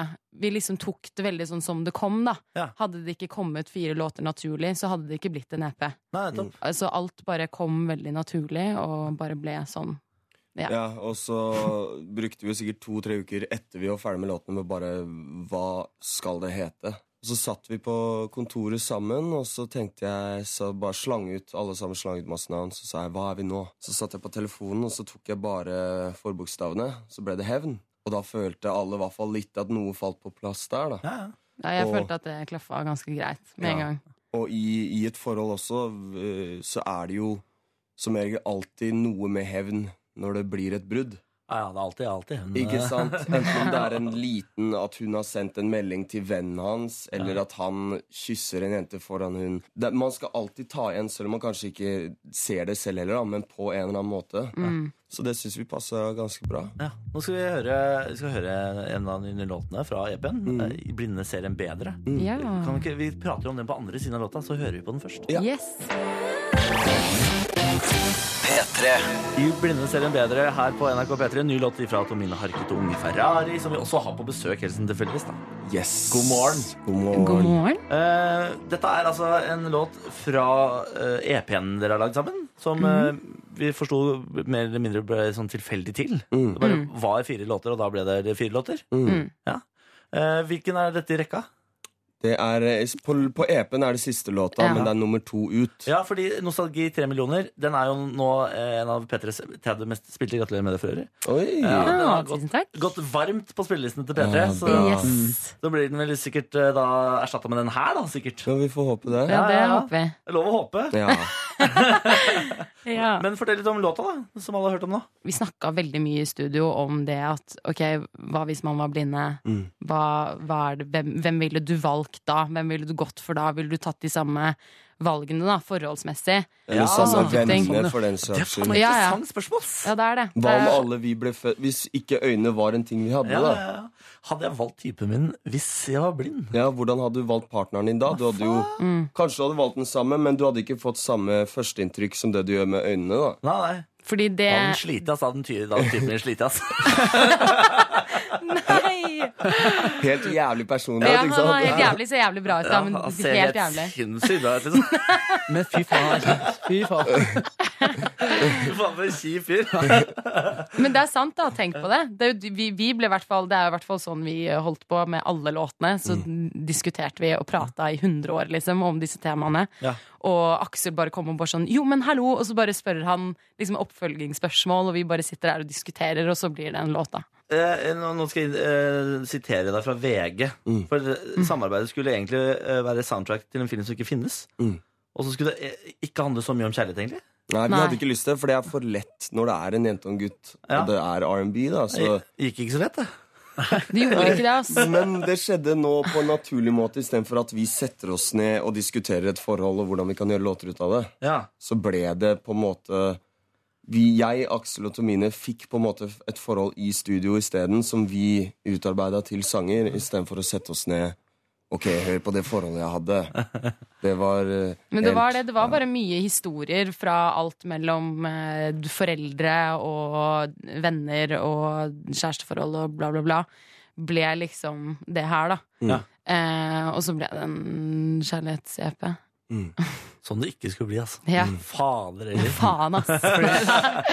Vi liksom tok det veldig sånn som det kom, da. Ja. Hadde det ikke kommet fire låter naturlig, så hadde det ikke blitt en EP. Nei, topp. Altså alt bare kom veldig naturlig, og bare ble sånn. Ja. Ja, og så brukte vi jo sikkert to-tre uker etter vi var ferdig med låtene med bare hva skal det hete? Og så satt vi på kontoret sammen, og så tenkte jeg så bare slang ut alle sammen slang ut masse navn. Så sa jeg 'hva er vi nå?' Så satt jeg på telefonen, og så tok jeg bare forbokstavene. Så ble det hevn. Og da følte alle i hvert fall litt at noe falt på plass der, da. Ja, ja. Ja, jeg Og- følte at det klaffa ganske greit med en Ja. gang. Og i, i et forhold også, øh, så er det jo som regel alltid noe med hevn når det blir et brudd. Ja, ja, det er alltid, alltid hun. Ikke eh, sant? Enten om det er en liten at hun har sendt en melding til vennen hans, eller at han kysser en jente foran hun. Det, man skal alltid ta igjen, selv om man kanskje ikke ser det selv heller, da, men på en eller annen måte. Mm. Så det syns vi passa ganske bra. Ja. Nå skal vi høre, vi skal høre en av de nye låtene fra EP-en. eh, I blinde ser en bedre. Ja. Kan vi, ikke, vi prater om den på andre siden av låta, så hører vi på den først. Ja. Yes! P3. I blinde ser en bedre her på NRK P3. Ny låt fra Tomine Harket og Unge Ferrari, som vi også har på besøk helt siden tilfeldigvis. da. Yes. God morgen. God morgen. God morgen. Eh, dette er altså en låt fra eh, EP-en dere har lagd sammen, som eh, vi forsto mer eller mindre ble sånn tilfeldig til. Det bare var fire låter, og da ble det fire låter. Mm. Ja. Eh, hvilken er dette i rekka? Det er, eh, på, på EP-en er det siste låta, Ja. men det er nummer to ut. Ja, fordi Nostalgi 3 millioner Den er jo nå eh, en av P3s 30 mest spilte. Gratulerer med det for øvrig. Oi! Ja, den Ja, har gått, Ah, tusen takk. gått varmt på spillelistene til P3, Ja, så bra. Mm. Yes. da blir den vel sikkert eh, da erstatta med den her, da. sikkert Ja, vi får håpe det. Ja, det Ja, ja. håper vi. Det er Lov å håpe. Ja. Men fortell litt om låta, da, som alle har hørt om nå. Vi snakka veldig mye i studio om det at ok, hva hvis man var blinde? Mm. Hva, hva er det, hvem, hvem ville du valgt da? Hvem ville du gått for da? Ville du tatt de samme valgene da, forholdsmessig? Eller Ja, samme sånne ting. vennene, for den saks skyld. Ja, ja. Interessant spørsmål. Ja, det er det. Hva om Det er- alle vi ble født Hvis ikke øyne var en ting vi hadde, Ja, da? ja, ja. Hadde jeg valgt typen min hvis jeg var blind? Ja, Hvordan hadde du valgt partneren din da? Du hadde jo, Mm. kanskje du hadde valgt den samme, men du hadde ikke fått samme førsteinntrykk som det du gjør med øynene. da Nei, nei. Fordi Da hadde den det slitt, ass. Da hadde den ty- da hadde typen altså. din slitt, ass. Nei! Helt jævlig personlighet, Ja, han ikke var sant? helt jævlig, ser jævlig bra ut, da, men Han ser helt jævlig. sinnssykt bra ut, liksom. Men fy faen, han er kjent. Fy faen. Faen, for en kjip fyr. Men det er sant, da. Tenk på det. det, er jo, vi, vi ble i hvert fall, det er i hvert fall sånn vi eh, holdt på med alle låtene. Så diskuterte vi og prata i 100 år liksom, om disse temaene. Ja. Og Aksel bare kom og bare sånn 'jo, men hallo', og så bare spør han liksom, oppfølgingsspørsmål, og vi bare sitter der og diskuterer, og så blir det en låt, da. Eh, nå, nå skal jeg eh, sitere deg fra VG. Mm. For eh, samarbeidet skulle egentlig eh, være soundtrack til en film som ikke finnes. Mm. Og så skulle det eh, ikke handle så mye om kjærlighet, egentlig. Nei, vi Nei. hadde ikke lyst til det, for det er for lett når det er en jente og en gutt, Ja. og det er R&B, da. Så. Det Eh, gikk ikke så lett, det. Det gjorde ikke det, altså. Men det skjedde nå på en naturlig måte, istedenfor at vi setter oss ned og diskuterer et forhold og hvordan vi kan gjøre låter ut av det. Ja. så ble det på en måte vi, Jeg, Aksel og Tomine fikk på en måte et forhold i studio isteden, som vi utarbeida til sanger, istedenfor å sette oss ned Ok, hør på det forholdet jeg hadde. Det var eh, Men det helt- var, det, det var bare mye historier fra alt mellom eh, foreldre og venner og kjæresteforhold og bla, bla, bla. Ble liksom det her, da. Ja. Eh, og så ble det en kjærlighets-EP. Sånn det ikke skulle bli, altså. Ja. Mm. Fader heller. Faen, ass!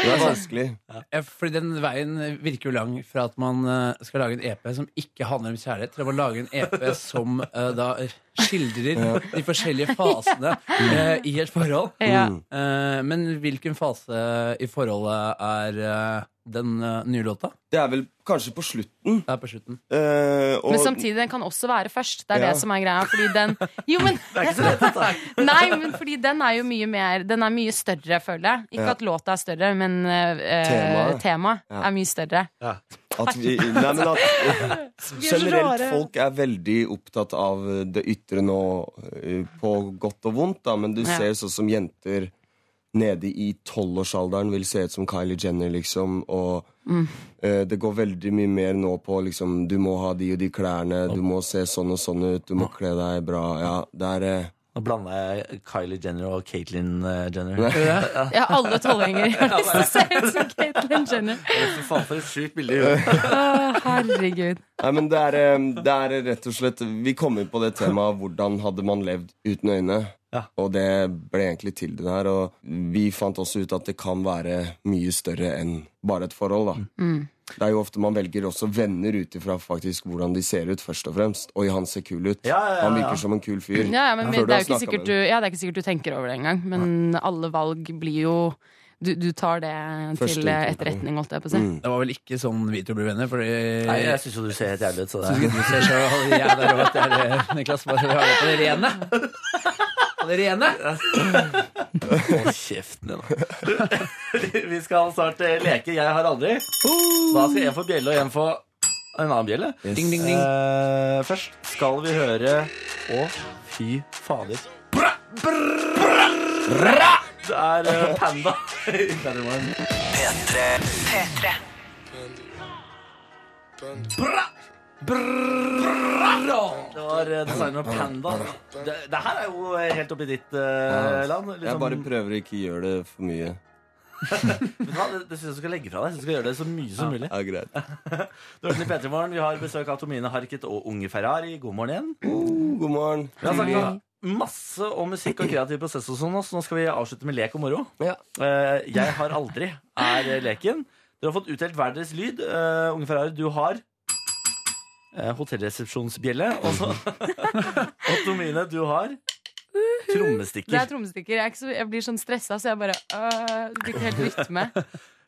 Det var vanskelig. Ja, fordi den veien virker jo lang fra at man eh, skal lage en EP som ikke handler om kjærlighet, til å bare lage en EP som eh, da skildrer de forskjellige fasene eh, i et forhold. ja. Mm. Eh, men hvilken fase i forholdet er eh, den eh, nye låta? Det er vel kanskje på slutten. Det er på slutten. eh, og Men samtidig, den kan også være først. Det er Ja. det som er greia. Fordi den Jo, men Nei, men fordi den er jo mye mer Den er mye større, føler jeg. Ikke Ja. at låta er større, men eh, Temaet. temaet Ja. er mye større. at vi, nei, men at eh, er så generelt rare. folk er veldig opptatt av det ytre nå, eh, på godt og vondt, da, men du Ja. ser sånn som jenter nede i tolvårsalderen vil se ut som Kylie Jenner, liksom, og Mm. eh, det går veldig mye mer nå på liksom Du må ha de og de klærne, du må se sånn og sånn ut, du må kle deg bra, ja, det er eh, Nå blanda jeg Kylie Jenner og Caitlyn eh, Jenner. Ja, alle tolvåringer har lyst til å se ut som Caitlyn Jenner. Fy faen, for et sjukt bilde i huet. Å, herregud. Nei, men det er, eh, det er rett og slett Vi kommer på det temaet hvordan hadde man levd uten øyne. Ja. Og det ble egentlig til det her. Og vi fant også ut at det kan være mye større enn bare et forhold. da. Det er jo ofte man velger også venner ut ifra faktisk hvordan de ser ut, først og fremst. Oi, han ser kul ut. Ja, ja, ja, Han ja. virker som en kul fyr. Ja, ja, Før men det er har jo ikke snakket sikkert med du, ham. ja, det er ikke sikkert du tenker over det engang. Men alle valg blir jo du, du tar det Første til eh, inntrykk. etterretning, holdt jeg på å si. Det var vel ikke sånn vi to ble venner, fordi Nei, jeg syns jo du ser helt jævlig ut, så det er Syns ikke du ser så jeg er der også, at det er det, Niklas, bare har det på det rene. På det rene. Hold kjeften din, da. Vi skal snart eh, leke Jeg har aldri. Da skal en få bjelle, og en få en annen bjelle. Ding, ding, ding. Eh, først skal vi høre Å, fy fader. Bra, bra, bra. Det er eh, Panda. Better one. P3. Det var eh, designer Panda. Det, det her er jo eh, helt oppi ditt eh, land. Liksom, altså. Jeg bare prøver å ikke gjøre det for mye. Vet du hva? det det syns jeg du skal legge fra deg. Jeg synes du skal gjøre det så mye som mulig. Ja, greit. Du hørte den i P3 Morgen. Vi har besøk av Tomine Harket og Unge Ferrari. God morgen igjen. Oh, god morgen. Vi har snakket masse om musikk og kreativ prosess hos oss. Nå skal vi avslutte med lek og moro. Ja. Eh, jeg har aldri er eh, leken. Dere har fått utdelt hver deres lyd. Eh, Unge Ferrari, du har eh, hotellresepsjonsbjelle. Og, så, og Tomine, du har Det er trommestikker. trommestikker. Jeg, er ikke så, jeg blir sånn stressa, så jeg bare øh, Det blir ikke helt rytme.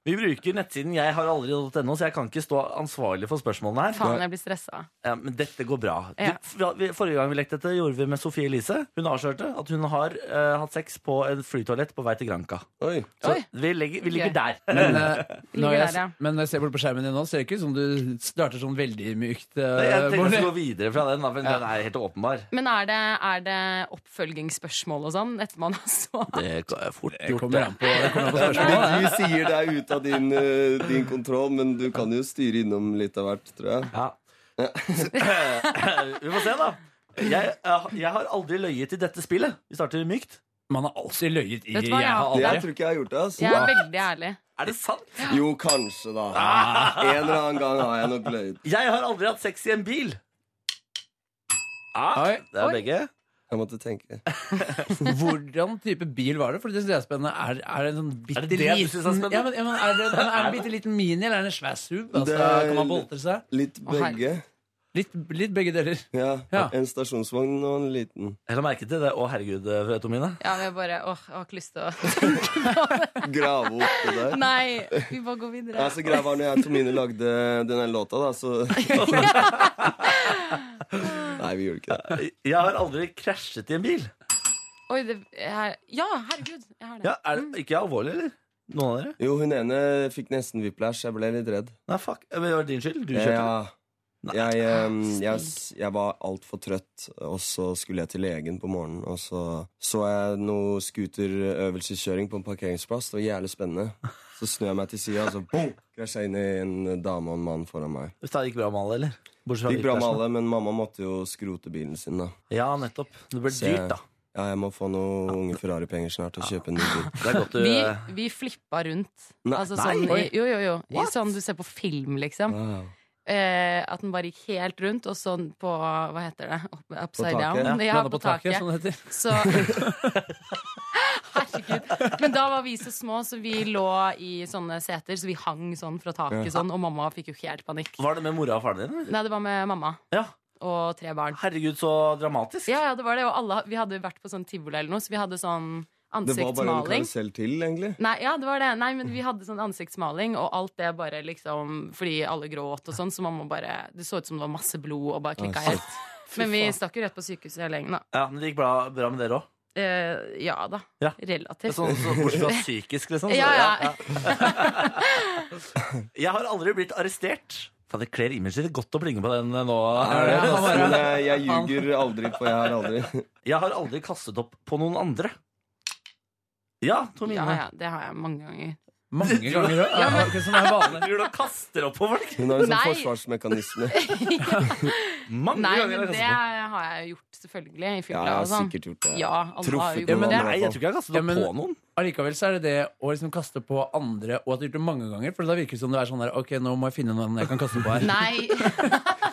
Vi bruker nettsiden jeghar.aldri.no, så jeg kan ikke stå ansvarlig for spørsmålene her. Faen, jeg blir stressa. Ja, men dette går bra. Du, Ja. fra- vi- Forrige gang vi lekte dette, gjorde vi med Sofie Elise. Hun avslørte at hun har eh, hatt sex på et flytoalett på vei til Granca. Oi. Så Oi. vi, legger, vi ligger Gøy. der. Men, eh, når Ligger der, ja. jeg, men når jeg ser bort på skjermen din nå, ser det ikke ut som du starter sånn veldig mykt. eh, Jeg tenker vi Bård. skal gå videre fra den, da, for Ja. den er helt åpenbar. Men er det, er det oppfølgingsspørsmål og sånn etter man har så Det er fort Det kommer an på, det kommer an på spørsmålet. Men du sier det er ute av din, eh, din kontroll, men du kan jo styre innom litt av hvert, tror jeg. Ja. vi får se, da. Jeg, eh, jeg har aldri løyet i dette spillet. Vi starter mykt. Man har alltid løyet i Vet du hva, jeg har ja. Jeg aldri. tror ikke jeg har gjort det. Altså. Jeg er veldig ærlig. Er det sant? Jo, kanskje, da. En eller annen gang har jeg nok løyet. Jeg har aldri hatt sex i en bil. Oi. Det er begge. Jeg måtte tenke. Hvordan type bil var det? For det synes jeg er spennende. Er, er det en sånn bitte Er det det du synes er liten spennende? ja, men, ja, men er, det, er det en bitte liten mini, eller er det en svær SUV? Altså, Det er- Kan man boltre seg? Litt Å, herre. begge. Litt, litt begge deler. Ja, Ja. En stasjonsvogn og en liten. Jeg la merke til det. Å, herregud, eh, Tomine. Ja, men jeg bare åh, jeg har ikke lyst til å Grave opp det der. Nei, vi bare går videre. Ja, så greia var når jeg og Tomine lagde denne låta, da, så Nei, vi gjorde ikke det. Jeg har aldri krasjet i en bil. Oi, det er Ja, herregud, jeg har det. Ja, er det ikke alvorlig, eller? Noen av dere? Jo, hun ene fikk nesten whiplash. Jeg ble litt redd. Nei, fuck. Eh, Men Det var din skyld. Du kjørte. Ja, Nei. jeg, em, jeg, s- jeg var altfor trøtt, og så skulle jeg til legen på morgenen. Og så så jeg noe scooterøvelseskjøring på en parkeringsplass. Det var jævlig spennende. Så snur jeg meg til sida, og så boom, krasja jeg inn i en dame og en mann foran meg. Hvis det gikk bra med alle, eller? Bortsett Det gikk bra med bilkrasjen. alle, men mamma måtte jo skrote bilen sin, da. Ja, nettopp. Det ble Så jeg- dyrt, da. Ja, jeg må få noen unge Ferrari-penger snart og kjøpe en ny bil. Det er godt du eh, Vi, vi flippa rundt. eh, Nei, Altså nei, sånn, oi. i, jo, jo, jo. I sånn du ser på film, liksom. Wow. Eh, at den bare gikk helt rundt, og sånn på Hva heter det? Up- Upside På taket? sånn. down? Ja, Landa på taket. som det heter. Så Herregud. Men da var vi så små, så vi lå i sånne seter. Så vi hang sånn fra taket sånn, og mamma fikk jo helt panikk. Var det med mora og faren din? eller? Nei, det var med mamma Ja. og tre barn. Herregud, så dramatisk. Ja, ja, det var det. Og alle, vi hadde vært på sånn tivoli eller noe, så vi hadde sånn Det var bare en ansiktsmaling. karusell til, egentlig. Nei, ja, det var det. Nei, men vi hadde sånn ansiktsmaling, og alt det bare liksom Fordi alle gråt og sånn, så mamma bare Det så ut som det var masse blod, og bare klikka Ah, shit. helt. Men vi stakk jo rett på sykehuset hele gjengen, da. Ja, men Det gikk bra, bra med dere òg? Eh, ja da. Ja. Relativt. Sånn, så, bortsett fra psykisk, liksom. Så, Ja, ja. ja. Jeg har aldri blitt arrestert. Faen, det kler imaget ditt godt å plinge på den eh, nå. Er det, altså, men jeg, jeg ljuger aldri, for jeg har aldri Jeg har aldri kastet opp på noen andre. Ja, Tomine. Ja, ja, det har jeg mange ganger. Mange ganger òg. Ja, men- Akkurat som det er vanlig. Tror du han kaster opp på folk? Hun har en sånn Nei. forsvarsmekanisme. Mange Nei, ganger har jeg men det kastet opp. har jeg gjort, selvfølgelig. I Ja, fylla jeg har og sånn. sikkert gjort det. Ja, alle har Truffet jo gjort noen det. andre. Nei, jeg tror ikke jeg har kastet opp Ja, men- på noen. Allikevel så er det det å liksom kaste på andre, og at du har gjort det mange ganger. For da virker det som du er sånn der Ok, nå må jeg finne noen jeg kan kaste på her. Nei,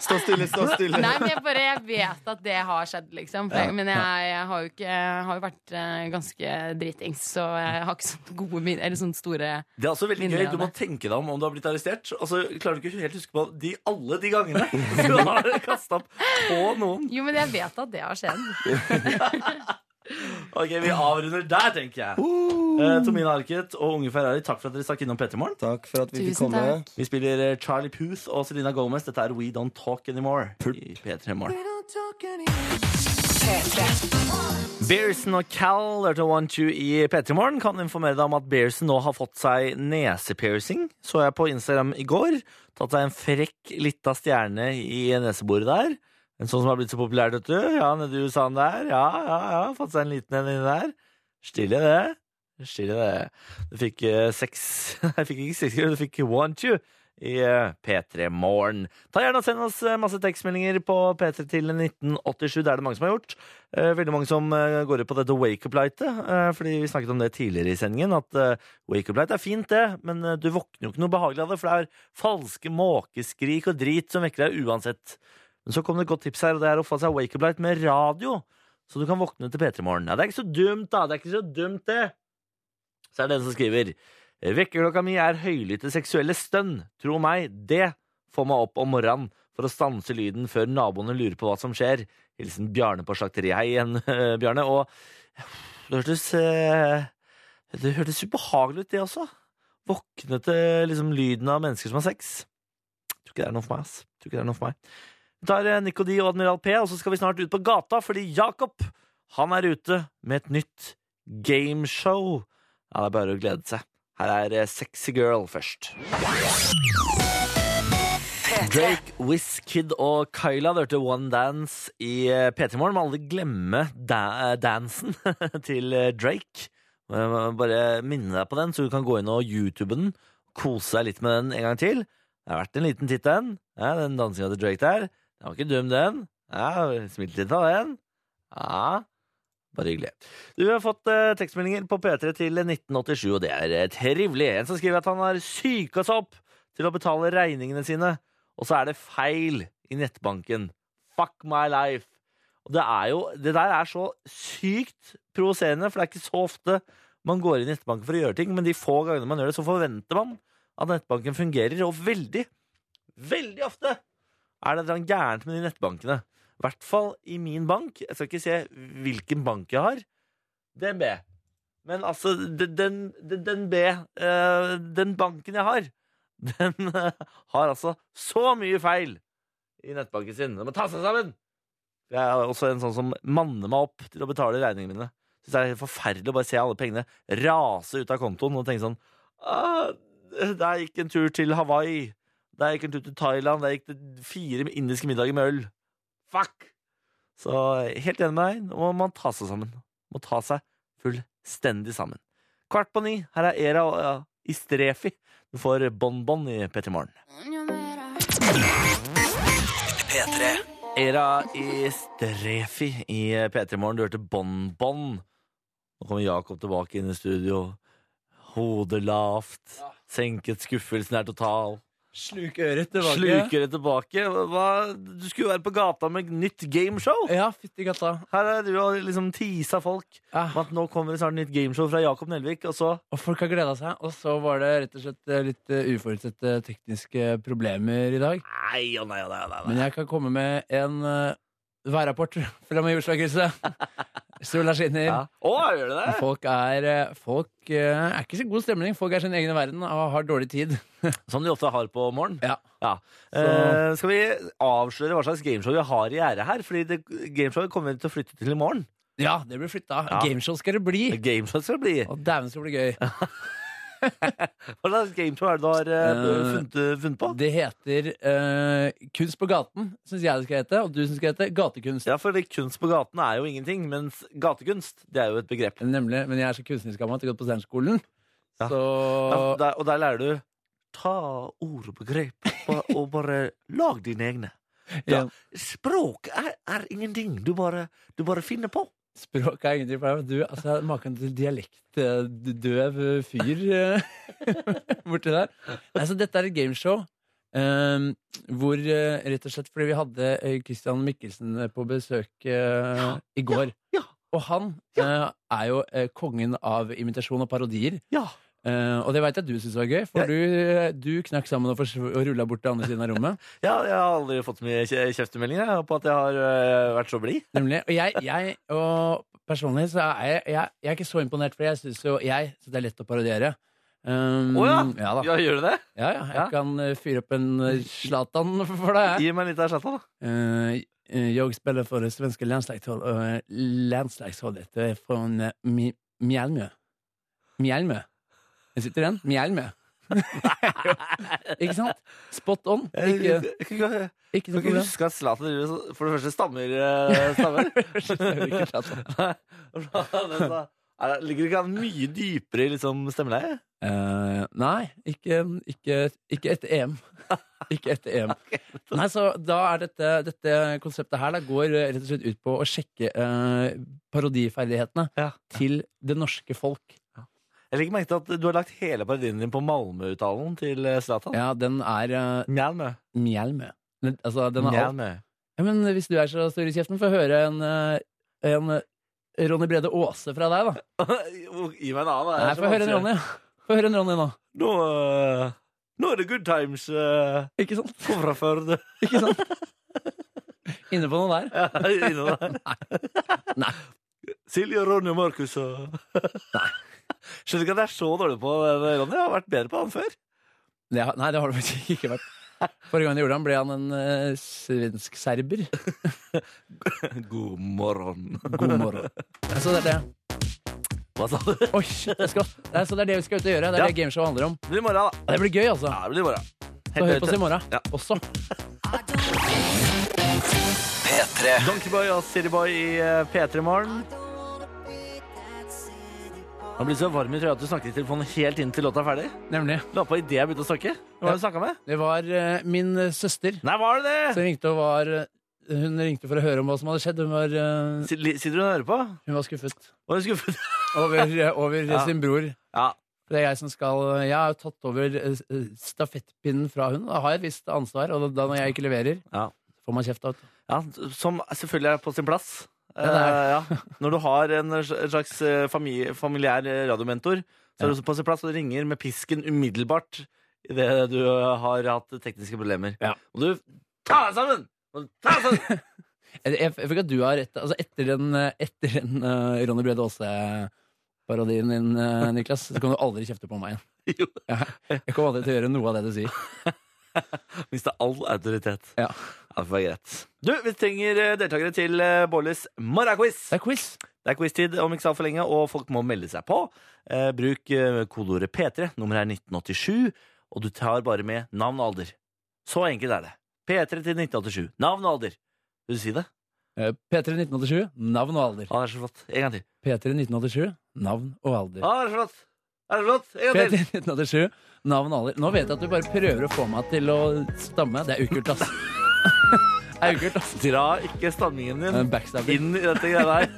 Stå stille, stå stille! nei, men jeg bare jeg vet at det har skjedd, liksom. For jeg, men jeg, jeg har jo ikke jeg har jo vært eh, ganske dritings, så jeg har ikke sånne gode min... Eller sånne store Det er også veldig Minner gøy. av Du må tenke deg om om du har blitt arrestert. Og så klarer du ikke helt huske på de, alle de gangene du har kasta opp på noen. Jo, men jeg vet at det har skjedd. Ok, Vi avrunder der, tenker jeg. Eh, Tomine Arket og Unge Ferrari, takk for at dere stakk innom PT Morgen. Takk for at vi fikk Tusen komme. takk. Vi spiller eh, Charlie Puth og Selena Gomez. Dette er We Don't Talk Anymore i P3 Morgen. Bearson og Cal hørte Want You i P3 Morgen. Kan informere deg om at Bearson nå har fått seg nesepiercing. Så jeg på Instagram i går. Tatt seg en frekk lita stjerne i neseboret der. En sånn som har blitt så populær, vet du. Ja, nede i USA den der. Ja, ja, ja. Fått seg en liten en inni der. Stille det. Stille det. Du fikk eh, seks Nei, fikk ikke seks kroner, du fikk want you i eh, P3 Morgen. Ta gjerne og Send oss eh, masse tekstmeldinger på P3 til 1987. Det er det mange som har gjort. Eh, Veldig mange som eh, går ut på dette wake up-lightet. eh, Fordi vi snakket om det tidligere i sendingen, at eh, wake up-light er fint, det, men eh, du våkner jo ikke noe behagelig av det, for det er falske måkeskrik og drit som vekker deg uansett. Men så kom det et godt tips her, og det er å få seg wake up-light med radio. Så du kan våkne til P3 Morgen. Ja, det er ikke så dumt, da. Det er ikke så dumt, det. Så er det den som skriver Vekkerklokka mi er høylytte seksuelle stønn. Tro meg, det får meg opp om morgenen for å stanse lyden før naboene lurer på hva som skjer. Hilsen Bjarne på slakteriet. Hei igjen, Bjarne. Og det hørtes eh, Det hørtes ubehagelig ut, det også. Våkne til liksom, lyden av mennesker som har sex. Tror ikke det er noe for meg, ass. Tror ikke det er noe for meg. Vi tar eh, Nico D og Admiral P, og så skal vi snart ut på gata, fordi Jakob, han er ute med et nytt gameshow. Ja, det er bare å glede seg. Her er eh, Sexy Girl først. Drake, Wizkid og Kyla du hørte One Dance i eh, P3 Morgen. Må aldri glemme da dansen til eh, Drake. Jeg må Bare minne deg på den, så du kan gå inn og YouTube den. Kose deg litt med den en gang til. Det har vært en liten titt, den. Ja, den dansinga til Drake der. Den var ikke dum, den. Ja, Smilte litt av den. Ja, bare hyggelig. Du har fått eh, tekstmeldinger på P3 til 1987, og det er eh, trivelig. En som skriver at han har psyka seg opp til å betale regningene sine, og så er det feil i nettbanken. Fuck my life. Og det er jo Det der er så sykt provoserende, for det er ikke så ofte man går inn i nettbanken for å gjøre ting, men de få gangene man gjør det, så forventer man at nettbanken fungerer, og veldig, veldig ofte er det et eller annet gærent med de nettbankene. I hvert fall i min bank. Jeg skal ikke se hvilken bank jeg har. DNB. Men altså, den, den, den- den B eh, Den banken jeg har, den eh, har altså så mye feil i nettbanken sin. Den må ta seg sammen! Jeg er også en sånn som manner meg opp til å betale regningene mine. Synes det er helt forferdelig å bare se alle pengene rase ut av kontoen og tenke sånn «Ah, Der gikk en tur til Hawaii. Der gikk en tur til Thailand. Der gikk det fire indiske middager med øl. Fuck! Så helt enig med deg. Nå må man ta seg sammen. Må ta seg fullstendig sammen. Kvart på ni. Her er Era og, ja, Istrefi. Du får bonbon i P3 Morgen. P3. Era i Strefi i P3 Morgen. Du hørte Bon Bon. Nå kommer Jakob tilbake inn i studio. Hodet lavt. Senket skuffelsen er total. Sluk øret Sluker det tilbake. Hva? Du skulle jo være på gata med nytt gameshow! Ja, fytti katta. Her er du og liksom tisa folk Ah. med at nå kommer det snart nytt gameshow fra Jakob Nelvik, og så Og folk har gleda seg. Og så var det rett og slett eh, litt eh, uforutsette tekniske problemer i dag. Nei og nei og nei. og nei, Men jeg kan komme med en eh, værrapport fra meg i Oslo-krysset. Sola skinner. Ja. Å, gjør det det? Folk, er, eh, folk eh, er ikke så god stemning. Folk er sin egen verden og har dårlig tid. Som de ofte har på morgen. Ja. Så- Eh, skal vi avsløre hva slags gameshow vi har i gjerdet her? Fordi det, gameshowet kommer vi til å flytte til i morgen. Ja, det blir flytta. Ja. Gameshow skal det bli. Gameshow skal det bli. Og dæven, skal det bli gøy. Hva slags gameshow er det du har eh, Eh, funnet, funnet på? Det heter eh, Kunst på gaten, syns jeg det skal hete. Og du syns det skal hete Gatekunst. Ja, for det- kunst på gaten er jo ingenting, mens gatekunst det er jo et begrep. Nemlig. Men jeg er så kunstnerisk gammel at jeg har gått på Steinerskolen. Ja. Så Ja, der, og der lærer du ta ord og begrep ba- og bare lag dine egne. ja. Språk er, er ingenting. Du bare, du bare finner på. Språk er ingenting for deg. men Du, altså, maken til eh, dialektdøv fyr eh, borti der. Altså, dette er et gameshow eh, hvor eh, rett og slett fordi vi hadde eh, Christian Mikkelsen på besøk eh, i går. ja. Og han eh, er jo eh, kongen av imitasjon og parodier. Ja. Eh, og det veit jeg du syns var gøy, Jeg- for du, eh, du knakk sammen og, forsv- og rulla bort til andre siden av rommet. Ja, jeg har aldri fått så mye kje- kjeftemeldinger jeg, på at jeg har øh, vært så blid. Nemlig. Og jeg, jeg og personlig så er jeg, jeg, jeg er ikke så imponert, for jeg syns jo jeg så det er lett å parodiere. Um, Å ja. Ja, da. Ja, gjør du det? ja, ja. Jeg Ja. kan eh, fyre opp en eh, Zlatan for deg. jeg. Gi meg litt av chatta, da. Eh, eh, jeg spiller for det svenske landslagshold- eh, landslagsholdet eh, fra eh, Mi- Mjølmø. Mjølmø. Jeg sitter igjen. Mjølmø. ikke sant? Spot on. Jeg, Ikke, jeg, jeg, jeg, ikke kan noe ikke problem. huske at Zlatan driver så- for det første stammer. eh, stammer. Ikke Zlatan. Nei, men så- er det- Ligger ikke han mye dypere i liksom, stemmeleie? Eh, nei, ikke, ikke, ikke etter EM. Ikke etter EM. Nei, så da er dette, dette konseptet her da, går eh, rett og slett ut på å sjekke eh, parodiferdighetene Ja. til det norske folk. Jeg legger merke til at du har lagt hele parodien din på Malmö-uttalen til eh, Zlatan. Ja, den er eh, Mjælmø. mjælmø. Men, Altså, den er alt. Mjælmø. Ja, men hvis du er så stor i kjeften, få høre en, eh, en eh, Ronny Brede Aase fra deg, da. Gi meg en annen. det er Nei, så få høre vanskelig. en Ronny. Få høre en Ronny nå. Nå, eh, nå er det good times. eh, Ikke sant? Kom fra Førde. Ikke sant? Inne på noe der. Ja, inne der. Nei. Silje, Ronny og Markus og Skjønner ikke at jeg er så dårlig på det, Ronny. Jeg har vært bedre på han før. Det har, nei, det har det faktisk ikke vært. Forrige gang jeg gjorde han, ble han en eh, svensk serber. God morgen. God morgen. Så det er det. Hva sa du? Oi, shit, jeg skal. Nei, så det er det vi skal ut og gjøre. Det er Ja. det gameshow handler om. Det blir morgen, da. Ja, Det blir gøy, altså. Ja, det blir morgen. Så hør på oss i morgen Ja. også. P3. Donkeyboy og Cityboy i eh, P3 Morgen. Han blir så varm i trøya at du snakker i telefonen helt inn til låta er ferdig. Nemlig. La på idet jeg begynte å snakke. Hvem var det du snakka med? Det var eh, min eh, søster Nei, var det det? som ringte og var eh, Hun ringte for å høre om hva som hadde skjedd. Hun var, eh, Si- li- Sitter hun og hører på? hun var skuffet Var hun skuffet? over, eh, over Ja. sin bror. Ja. Det er jeg som skal Jeg har jo tatt over eh, s- eh, stafettpinnen fra hun. Da har jeg et visst ansvar, og da når jeg ikke leverer, Ja. får man kjeft av. Ja, som selvfølgelig er på sin plass. det er Eh, ja. Når du har en slags eh, fami- familiær eh, radiomentor, så er du på sin plass og ringer med pisken umiddelbart idet du eh, har hatt tekniske problemer. Ja. Og du Ta deg sammen! Og du, Ta deg sammen! Jeg, jeg, jeg føler ikke at du har rett altså Etter den, eh, etter den eh, Ronny Brede Aase-parodien din, eh, Niklas, så kan du aldri kjefte på meg igjen. Jo. Ja, jeg kommer aldri til å gjøre noe av det du sier. Mista all autoritet. Ja. Ja, det var greit. Du, vi trenger eh, deltakere til eh, Bårlis morgenquiz. Det er quiz. Det er quiz-tid om ikke så altfor lenge, og folk må melde seg på. Eh, bruk eh, kodeordet P3, nummeret er 1987, og du tar bare med navn og alder. Så enkelt er det. P3 til 1987. Navn og alder. Vil du si det? Eh, P3 1987, navn og alder. Ah, det er så flott. En gang til. P3 1987, navn og alder. Ah, det er så flott. Det er så flott. En gang P3 til. 1987, navn og alder. Nå vet jeg at du bare prøver å få meg til å stamme. Det er ukult, ass. Det er ukult, ass. Dra ikke stammingen Det er en din Backstabber. inn i dette greia her.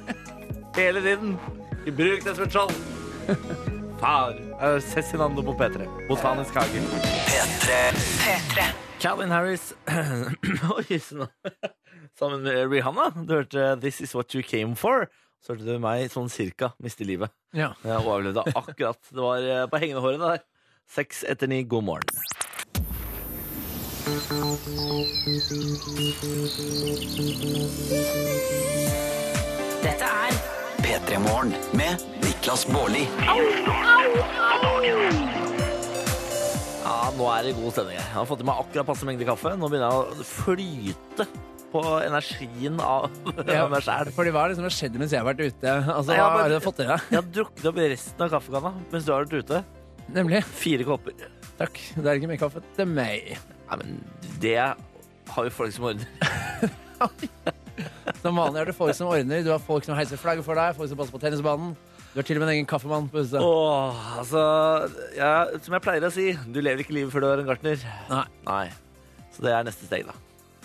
Hele tiden. Ikke Bruk det som et skjold. Far. Eh, Cezinando på P3. Botanisk hage. P3. Calvin Harris Oi, sann. Sammen med Rihanna. Du hørte eh, 'This Is What You Came For'. Så hørte du meg sånn cirka miste livet. Ja. Jeg overlevde akkurat. Det var eh, på hengende hårene der. Seks etter ni, god morgen. Dette er P3 Morgen med Niklas Baarli. Ja, nå er det god stemning her. Jeg har fått i meg akkurat passe mengde kaffe. Nå begynner jeg å flyte på energien av av meg sjæl. Fordi hva er det som har skjedd mens jeg har vært ute? Altså, Nei, hva ja, men- har du fått til deg? Jeg har drukket opp resten av kaffekanna mens du har vært ute. Nemlig. Fire kopper. Takk. Det er ikke mer kaffe til meg. Nei, men det har jo folk som ordner. Som vanlig er det folk som ordner. Du har folk som heiser flagget for deg, folk som passer på tennisbanen. Du har til og med en egen kaffemann på huset. Åh, altså jeg- Som jeg pleier å si, du lever ikke livet før du er en gartner. Nei. Så det er neste steg, da.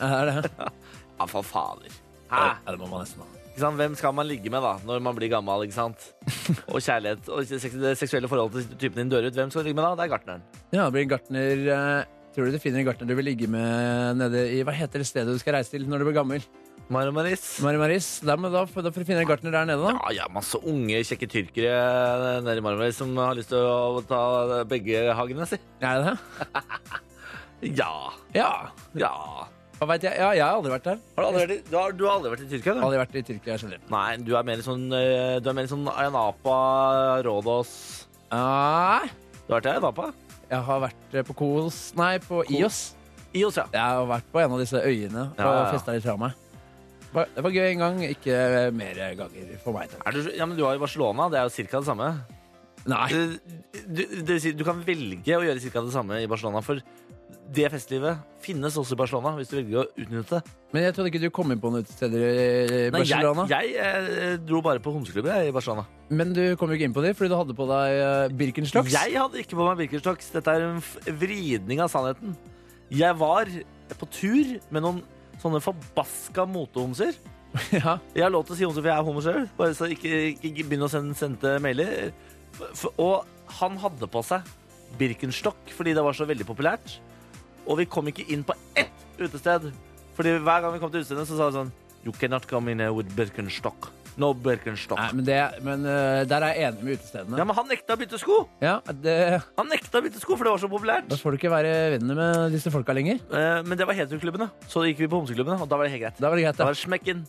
Er det? Ja, for fader. Ja, Hæ? det må man nesten ha. Ikke sant? Hvem skal man ligge med da, når man blir gammel? ikke sant? Og kjærlighet og seks- det seksuelle forholdet til typen din dør ut. Hvem skal du ligge med da? Det er gartneren. Ja, det blir en gartner eh, Tror du du finner en gartner du vil ligge med nede i Hva heter det stedet du skal reise til når du blir gammel? Mari Maris. Mari Maris? Da, men da, får- da får du finne en gartner der nede, da. Ja, ja, masse unge, kjekke tyrkere nede i Mari Maris som har lyst til å ta begge hagene, si. Er det det? Ja. Ja. Ja. Hva vet jeg? Ja, jeg har aldri vært der. Har du aldri vært i, du har, du har aldri vært i Tyrkia, du? Aldri vært i Tyrkia, skjønner du. Nei, du er mer sånn, eh, du er mer sånn Ayanapa, Rådås Nei, Du har vært i Ayanapa? jeg har vært eh, på Kos Nei, på Ios. IOS, ja. Jeg har vært på en av disse øyene og Ja, ja. festa litt fra meg. Ba- Det var gøy en gang, ikke mer ganger for meg. Takk. Er du, ja, men du var i Barcelona, det er jo ca. det samme. Nei. Du, du, det vil si, du kan velge å gjøre ca. det samme i Barcelona, for det festlivet finnes også i Barcelona, hvis du velger å utnytte det. Men jeg trodde ikke du kom inn på noen utesteder i Nei, jeg- Barcelona. Jeg, eh, dro bare på homseklubber jeg, i Barcelona. Men du kom jo ikke inn på dem fordi du hadde på deg eh, Birkenstocks. Jeg hadde ikke på meg Birkenstocks. Dette er en f- vridning av sannheten. Jeg var på tur med noen sånne forbaska motehomser. Ja. Jeg har lov til å si homse, for jeg er homo selv. Bare så ikke, ikke begynn å sende sendte mailer. F- f- og han hadde på seg Birkenstock fordi det var så veldig populært. Og vi kom ikke inn på ett utested. Fordi hver gang vi kom til utestedet, så sa han sånn You cannot come in here with Birkenstock. No Birkenstock. Nei, men, det, men eh, der er jeg enig med utestedene. Ja, men han nekta å bytte sko! Ja, det, Han nekta å bytte sko, for det var så populært. Da får du ikke være venner med disse folka lenger. Eh, Men det var heteroklubbene. Så gikk vi på homseklubbene, og da var det helt greit. Da var det greit, Da da. var det smekken.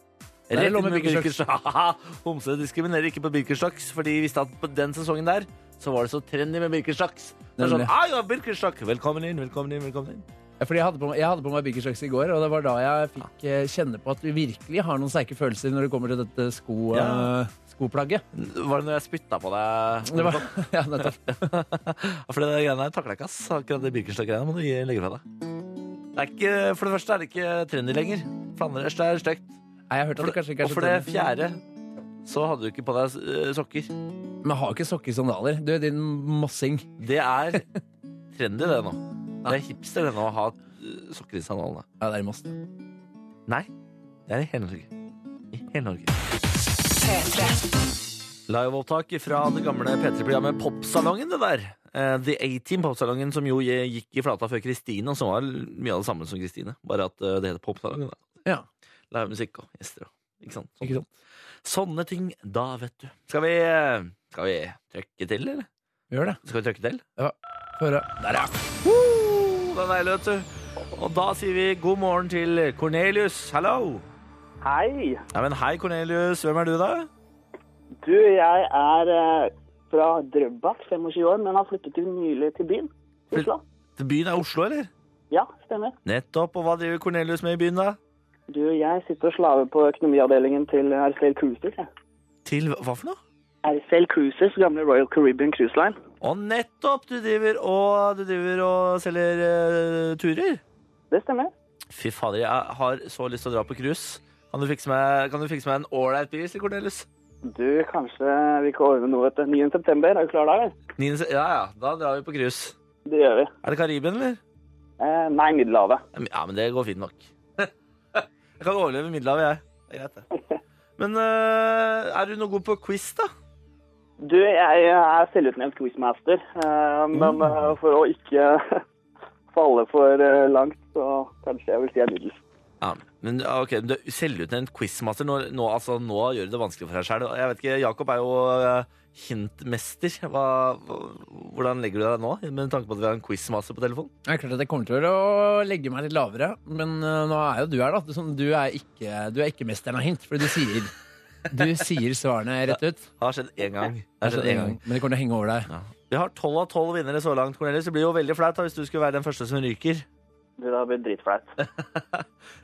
Da er det lov med Birkenstocks. Homse diskriminerer ikke på Birkenstocks, for de visste at på den sesongen der så var det så trendy med Birkenstocks. Det er sånn, Nemlig. ah, ja, Birkenstock, velkommen inn, velkommen inn, velkommen inn. Ja, Fordi jeg hadde, på, meg- jeg hadde på meg Birkenstocks i går, og det var da jeg fikk eh, kjenne på at du virkelig har noen sterke følelser når det kommer til dette sko, Ja. eh, skoplagget. Var det når jeg spytta på deg? Det var, ja, nettopp. For det greiene her takla jeg ikke, ass. Akkurat det Birkenstock-greiene må du gi- legge fra deg. Det er ikke, for det første er det ikke trendy lenger. For det andre det er stygt. Nei, jeg har hørt at det kanskje ikke Og er så for det trendy. fjerde så hadde du ikke på deg eh, sokker. Men jeg har ikke sokker i sandaler. Du, din mossing. Det er trendy, det nå. Det er hipster, det nå, å ha eh, sokker i sandalene. Ja, det er i Moss. Nei, det er i hele Norge. I hele Norge. Liveopptak fra det gamle P3-programmet Popsalongen, det der. Eh, The A-Team Popsalongen, som jo gikk i flata før Kristine, og som var mye av det samme som Kristine, bare at eh, det heter Popsalongen. da. Ja. Lager musikk og gjester og Ikke sant? Sånn. Ikke sant? Sånne ting, da, vet du. Skal vi eh, Skal vi trykke til, eller? Vi gjør det. Skal vi trykke til? Få høre. Der, ja. Woo! Det er deilig, vet du. Og da sier vi god morgen til Cornelius. Hallo! Hei. Nei, men hei, Cornelius. Hvem er du, da? Du, jeg er eh, fra Drøbak, 25 år, men har flyttet til nylig til byen. Oslo. Til byen er Oslo, eller? Ja, stemmer. Nettopp. Og hva driver Cornelius med i byen, da? Du, jeg sitter og slaver på økonomiavdelingen til RCL Cruises. jeg. Til hva for noe? RCL Cruises, gamle Royal Caribbean Cruise Line. Og nettopp! Du driver og, du driver og selger eh, turer. Det stemmer. Fy fader, jeg har så lyst til å dra på cruise. Kan du fikse meg, kan du fikse meg en ålreit bil, sier Cornelius? Du, kanskje vi kan ordne noe etter 9. september? Er du klar da? eller? Niende se- Ja ja, da drar vi på cruise. Det gjør vi. Er det Karibien, eller? Eh, nei, Middelhavet. Ja, men det går fint nok. jeg kan overleve Middelhavet, jeg. Det er greit, det. Men eh, er du noe god på quiz, da? Du, jeg er selvutnevnt quizmaster, eh, men eh, for å ikke falle for eh, langt, så kanskje jeg vil si jeg er middels. Ja, men ja, ok, men du er selvutnevnt quizmaster. Nå, nå, altså, nå gjør du det vanskelig for deg sjøl. Jeg vet ikke, Jakob er jo eh, hintmester. Hva, hva- hvordan legger du deg nå, med tanke på at vi har en quizmaster på telefonen? Det er klart at jeg kommer til å legge meg litt lavere, men eh, nå er jo du her, da. Du, sånn, du, er, ikke, du er ikke mesteren av hint, for du sier, du sier svarene rett ut. Det har skjedd én gang. Det har Altså, skjedd en en gang. gang, Men det kommer til å henge over deg. Ja. Vi har tolv av tolv vinnere så langt, Cornelius. Det blir jo veldig flaut da, hvis du skulle være den første som ryker. Det har blitt dritflaut.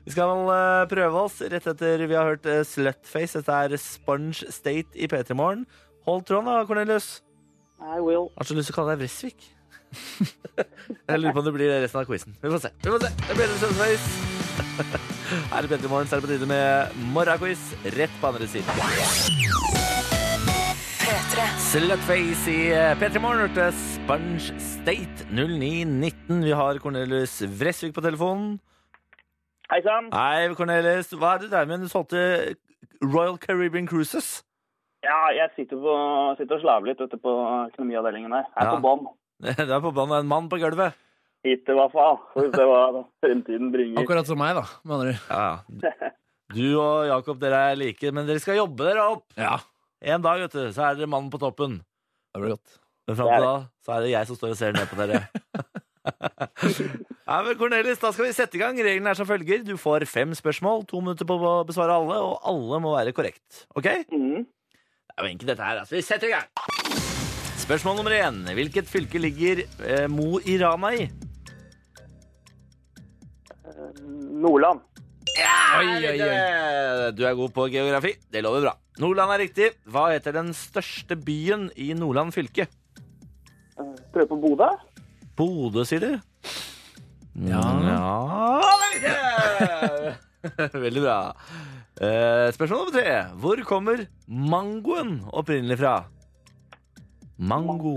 Vi skal vel eh, prøve oss rett etter vi har hørt eh, Slutface. Dette er Sponge State i P3 Morgen. Hold tråden da, Cornelius. I will. Jeg har så lyst til å kalle deg Vresvik. Jeg lurer på om det blir det resten av quizen. Vi får se. Vi får se. Det blir det Slutface. Her i P3 Morgen så er det på tide med morgenquiz rett på andre siden. P3. Slutface i P3 Morgen hørte Sponge State 0919. Vi har Cornelius Vresvik på telefonen. Hei sann. Hei, Cornelius. Hva er det der med? Du solgte Royal Caribbean Cruises. Ja, jeg sitter, på, sitter og slaver litt ute på økonomiavdelingen her. Jeg er Ja. på bånn. Det er på banen en mann på gulvet. Hittil, i hvert fall. Får vi se hva fremtiden bringer. Akkurat som meg, da. Med andre. ord. Ja. Du og Jakob dere er like, men dere skal jobbe dere opp. Ja, En dag vet du, så er dere mannen på toppen. det blir godt. Men fram til da så er det jeg som står og ser ned på dere. Nei, men Cornelis, da skal vi sette i gang. Reglene er som følger. Du får fem spørsmål, to minutter på å besvare alle, og alle må være korrekt. Ok? Mhm. Det er jo enkelt dette her, altså. Vi setter i gang. Spørsmål nummer én. Hvilket fylke ligger eh, Mo i Rana i? Nordland. Oi, oi, oi. Du er god på geografi. Det lover bra. Nordland er riktig. Hva heter den største byen i Nordland fylke? Prøve på Bodø? Bodø, sier du? Mm, Ja. ja. Veldig bra. Eh, spørsmål nummer tre. Hvor kommer mangoen opprinnelig fra? Mango.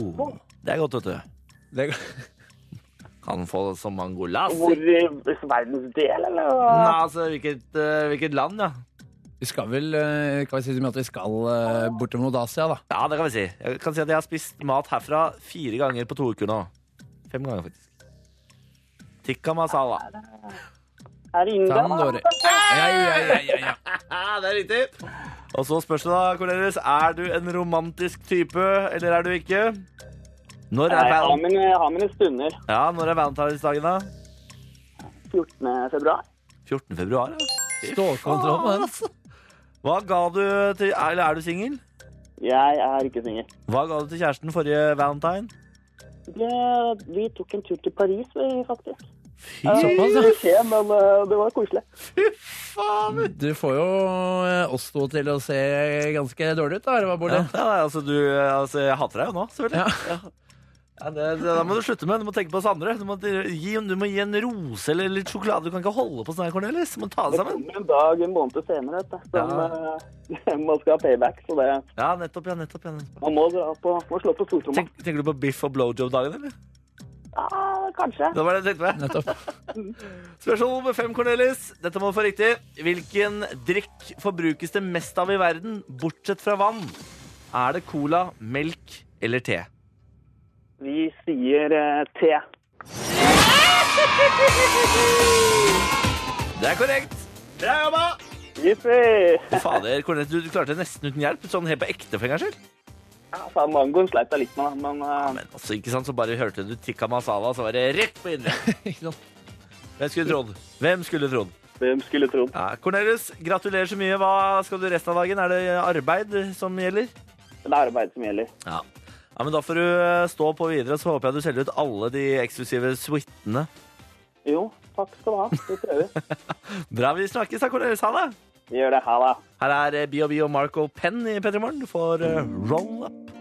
Det er godt, vet du. Det, Kan få det som mangolas. Hvor i verdens del, eller? Nei, altså, hvilket, eh, hvilket land, ja. vi skal vel eh, Kan vi si det med at vi skal eh, bortom mot Asia, da? Ja, det kan vi si. Jeg kan si at jeg har spist mat herfra fire ganger på to uker nå. Fem ganger, faktisk. Tikka masala. Er det India? Tandori. Ja, ja, ja, ja, ja. Ja, det er riktig. Og så spørs det, da, Cornelius. Er du en romantisk type, eller er du ikke? Når Nei, er, jeg har val mine, jeg har mine stunder. ja, når er valentinsdagen, da? 14. februar. 14. februar, ja. Stålkontroll, Faen, mann. altså. Hva ga du til Eller er du singel? Jeg er ikke singel. Hva ga du til kjæresten forrige valentine? Det- Vi tok en tur til Paris, vi, faktisk. Fy Jeg fikk ja. beskjed, men eh, det var koselig. faen! Du får jo eh, oss to til å se ganske dårlig ut, da, eller hva, Ja, Bård? ja, nei, altså, du, altså, jeg hater deg jo nå, selvfølgelig. Ja. Ja, det, det, da må du slutte med Du må tenke på oss andre. Du må gi, du må gi en rose eller litt sjokolade. Du kan ikke holde på sånn her, Cornelis. Du må ta det Det sammen. kommer en dag en måned senere vet du, som eh, man skal ha payback. Så det, Ja, nettopp, ja, nettopp, ja, nettopp. man må dra på, må slå på stortromma. Tenk, tenker du på biff og blowjob-dagen, eller? Ja, kanskje. Det var det jeg tenkte på. Nettopp. Spørsmål nummer fem, Cornelis. Dette må du få riktig. Hvilken drikk forbrukes det mest av i verden, bortsett fra vann? Er det cola, melk eller te? Vi sier eh, te. Det er korrekt. Bra jobba! Jippi! Fy Fader, Cornelius, du, du klarte det nesten uten hjelp. Sånn helt på ekte, for en gangs skyld. Ja, faen, altså, mangoen sleit jeg litt med, da, men eh, Men altså, ikke sant, så bare hørte du tikka masala, så var det rett på indre. Ikke sant? Hvem skulle trodd? Hvem skulle trodd? hvem skulle trodd? Ja, Cornelius, gratulerer så mye. Hva skal du resten av dagen? Er det arbeid som gjelder? Det er arbeid som gjelder. Ja. ja, men da får du eh, stå på videre, så håper jeg du selger ut alle de eksklusive suitene. Jo, takk skal du ha. Vi prøver. Bra, vi snakkes da, Cornelius. Ha det! Vi gjør det. Ha det. Her er eh, BioBio og Marco Penn i P3 Morgen. Du får eh, roll up.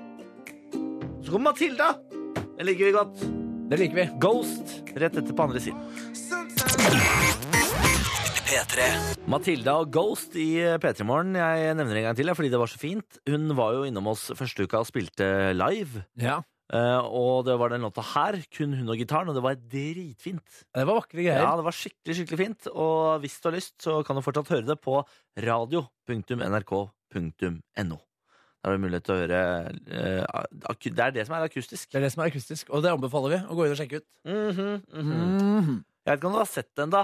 Så kommer Matilda. Den liker vi godt. Det liker vi. Ghost rett etter på andre siden. P3. Matilda og Ghost i P3 Morgen. Jeg nevner en gang til, ja, fordi det var så fint. Hun var jo innom oss første uka og spilte live. Ja. Eh, og det var den låta her, kun hun og gitaren, og det var dritfint. Det var vakre greier. Ja, det var skikkelig, skikkelig fint. Og hvis du har lyst, så kan du fortsatt høre det på radio.nrk.no. Der har du mulighet til å høre eh, aku Det er det som er akustisk. Det er det som er akustisk, og det anbefaler vi å gå inn og sjekke ut. Mhm, mhm. Jeg vet ikke om du har sett den, da.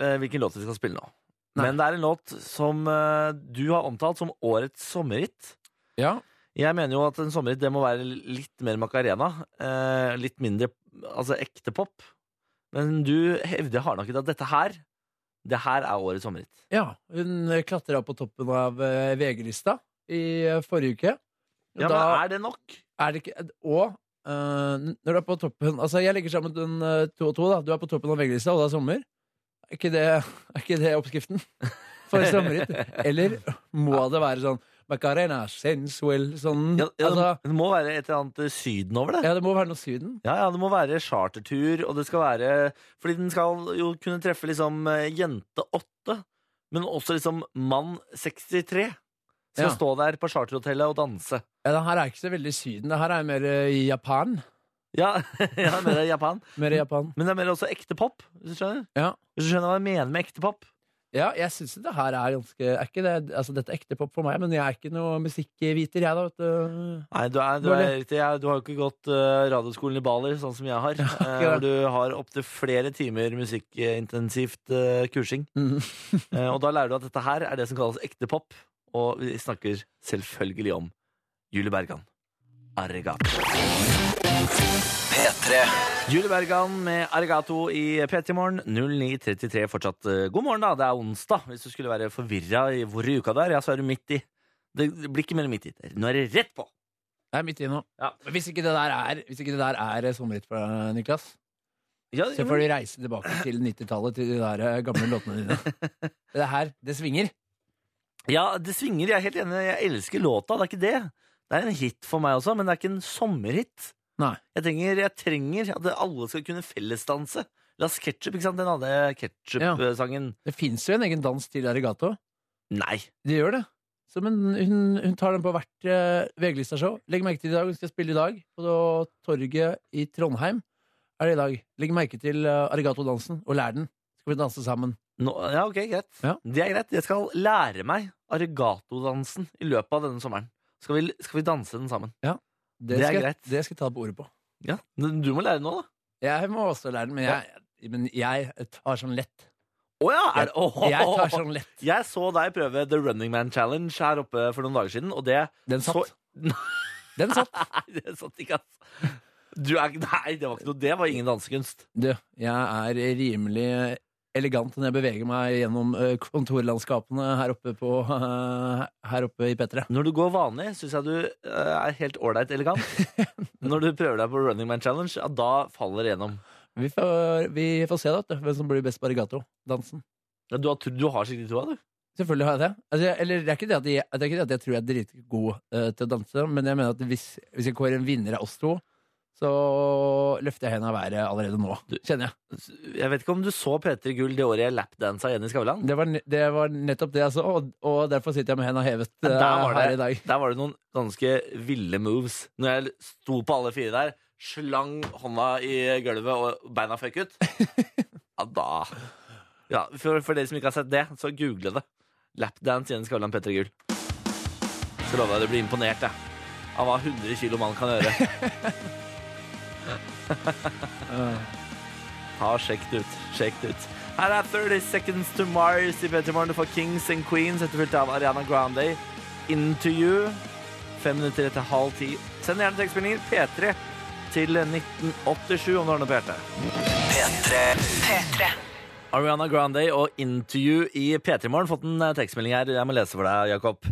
eh, Hvilken låt vi skal spille nå. Nei. Men det er en låt som eh, du har omtalt som årets sommerhit. Ja. Jeg mener jo at en sommerhit det må være litt mer Macarena. eh, Litt mindre altså ekte pop. Men du hevder hardnakket at dette her, det her er årets sommerhit. ja. Hun klatra på toppen av eh, VG-lista i eh, forrige uke. Og Ja, da men er det nok? er det ikke Og eh, når du er på toppen Altså, jeg legger sammen den, eh, to og to, da. Du er på toppen av VG-lista, og det er sommer. Er ikke det, er ikke det oppskriften for sommerhit? Eller må det være sånn Macarena, sensuel, sånn Ja, ja, det, altså, det må være et eller annet eh, Syden over det. ja, det må være noe Syden. Ja, ja, det må være chartertur, og det skal være Fordi den skal jo kunne treffe liksom eh, jente 8, men også liksom mann 63. Skal Ja. stå der på charterhotellet og danse. Ja, det her er ikke så veldig Syden. Det her er mer eh, i Japan. Ja, ja mer i Japan. Mer i Japan. Men det er mer også ekte pop, hvis du skjønner? Ja. Hvis du skjønner hva jeg mener med ekte pop? Ja, jeg syns det her er ganske er ikke det, altså Dette er ekte pop for meg, men jeg er ikke noe musikkviter, jeg, da. vet du. Nei, du, er, du, er, Dårlig. riktig. Jeg- du har jo ikke gått eh, radioskolen i Baler, sånn som jeg har. eh, ja. hvor du har opptil flere timer musikkintensivt eh, kursing. Eh, Og da lærer du at dette her er det som kalles ekte pop. Og vi snakker selvfølgelig om Julie Bergan. Arigato. P3. Julie Bergan med Arigato i P3 Morgen 09.33 fortsatt. eh, God morgen, da. Det er onsdag, hvis du skulle være forvirra i hvor i uka det er. Ja, så er du midt i. Det blir ikke mer midt i. Nå er det rett på. Det er midt i nå. Ja. Men Hvis ikke det der er, hvis ikke det der er sommerhit for deg, Niklas, Ja, så får du reise tilbake til 90-tallet, til de der eh, gamle låtene dine. Det her, det svinger. Ja, det svinger. Jeg er helt enig. Jeg elsker låta. Det er ikke det. Det er en hit for meg også, men det er ikke en sommerhit. Nei. Jeg trenger, jeg trenger at alle skal kunne fellesdanse. La oss ketchup, ikke sant? Den andre ketchup-sangen. Det fins jo en egen dans til Arigato. Nei. Det gjør det. Så, men hun, hun tar den på hvert eh, VG-lista-show. Legg merke til i dag, hun skal spille i dag på torget i Trondheim. Er det i dag. Legg merke til eh, Arigato-dansen, og lær den. Skal vi danse sammen. Nå, ja, ok, greit. Ja. Det er greit. Jeg skal lære meg arigato-dansen i løpet av denne sommeren. Skal vi, skal vi danse den sammen? Det er skal, greit. Det skal jeg ta på ordet på. Ja. Du må lære nå, da. Jeg må også lære den, men jeg, men jeg tar sånn lett. Å ja! Er, det- Åh. Jeg tar sånn lett. Jeg så deg prøve The Running Man Challenge her oppe for noen dager siden, og det Den satt. Så- Den satt. Nei, det satt ikke, ass. Du er, ikke- nei, det var ikke noe. Det var ingen dansekunst. Du, jeg er rimelig elegant når jeg beveger meg gjennom eh, kontorlandskapene her oppe, på, eh, her oppe i P3. Når du går vanlig, syns jeg du eh, er helt ålreit elegant. Når du prøver deg på Running Man Challenge, ja, da faller det gjennom. Vi får, vi får se da, vet du, hvem som blir best på arigato-dansen. Ja, du, har, tro- du har skikkelig troa, du. Selvfølgelig har jeg det. Altså, jeg, eller det er, ikke det, at jeg, det er ikke det at jeg tror jeg er dritgod eh, til å danse, men jeg mener at hvis, hvis jeg kårer en vinner av oss to, så løfter jeg hendene av været allerede nå, Du- kjenner jeg. Jeg vet ikke om du så P3 Gull det året jeg lapdansa Jenny Skavlan. Det var, ne- det var nettopp det jeg så, og, og derfor sitter jeg med hendene hevet eh, Der var her i det, dag. der var det noen ganske ville moves. Når jeg sto på alle fire der, slang hånda i gulvet og beina føk ut. Ja, da ja, for, for dere som ikke har sett det, så google det. Lapdance Jens Skavlan Petter Gull. Skal love deg du blir imponert jeg, av hva 100 kilo mann kan gjøre. Eh, Ha sjekk det ut. Sjekk det ut. Her er 30 Seconds to Mars i Petermorgen. Du får Kings and Queens etterfulgt av Ariana Grande. Into You. Fem minutter etter halv ti. Send gjerne tekstmeldinger P3 til 1987 om du har noe på hjertet. P3. Ariana Grande og Interview i P3 Morgen. Fått en eh, tekstmelding her. Jeg må lese for deg, Jakob.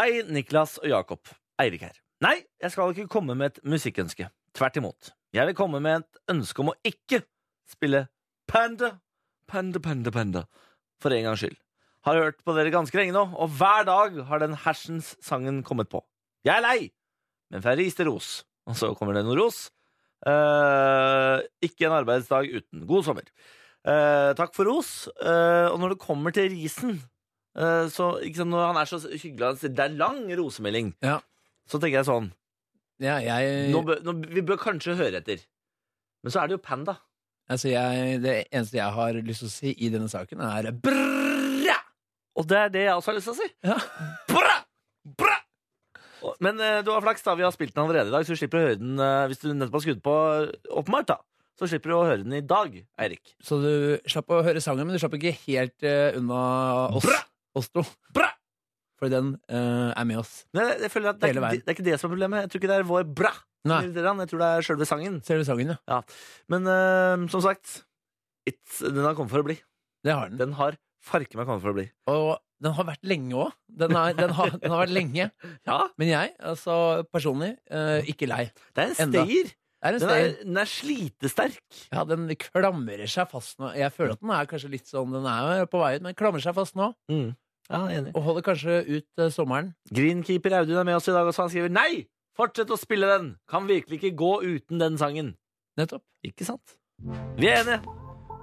Hei, Niklas og Jakob. Eirik her. Nei, jeg skal ikke komme med et musikkønske. Tvert imot. Jeg vil komme med et ønske om å ikke spille Panda, Panda, Panda, Panda for en gangs skyld. Har hørt på dere ganske lenge nå, og hver dag har den hersens sangen kommet på. Jeg er lei, men fra ris til ros. Og så kommer det noe ros. Eh, ikke en arbeidsdag uten. God sommer. Eh, takk for ros. Eh, og når det kommer til risen eh, så, ikke sant, Når han er så hyggelig han sier, Det er lang rosemelding. Ja. Eh, Så tenker jeg sånn Ja, jeg, nå bør, nå, Vi bør kanskje høre etter. Men så er det jo Panda. altså jeg, det eneste jeg har lyst til å si i denne saken, er brrra! Og det er det jeg også har lyst til å si. Ja. Bra! Bra! Og- Men eh, du har flaks, da. Vi har spilt den allerede i dag, så du slipper å høre den eh, hvis du nettopp har skrudd på åpenbart, da. Så slipper du å høre den i dag, Eirik. Så du slapp å høre sangen, men du slapp ikke helt eh, unna oss, Brrra! oss to. Brrra! For den eh, er med oss. Men jeg, jeg føler at det er, Hele ikke, veien. det, er ikke det som er problemet. Jeg tror ikke det er vår bra. Nei. Jeg tror det er sjølve sangen. Ser du sangen, ja? Men eh, som sagt, it's, den har kommet for å bli. Det har den. Den har farke meg kommet for å bli. Og den har vært lenge òg. Den, er- den, har- den har vært lenge. Ja, Men jeg, altså personlig, eh, ikke lei. Det er en Enda. stayer. Det er en Den er, stein. den er slitesterk. Ja, den klamrer seg fast nå. Jeg føler at den er kanskje litt sånn, den er jo på vei ut, men klamrer seg fast nå. Ja, enig. Og holder kanskje ut eh, sommeren. Greenkeeper Audun er med oss i dag, og så han skriver Nei! Fortsett å spille den! Kan virkelig ikke gå uten den sangen. Nettopp. Ikke sant? Vi er enige.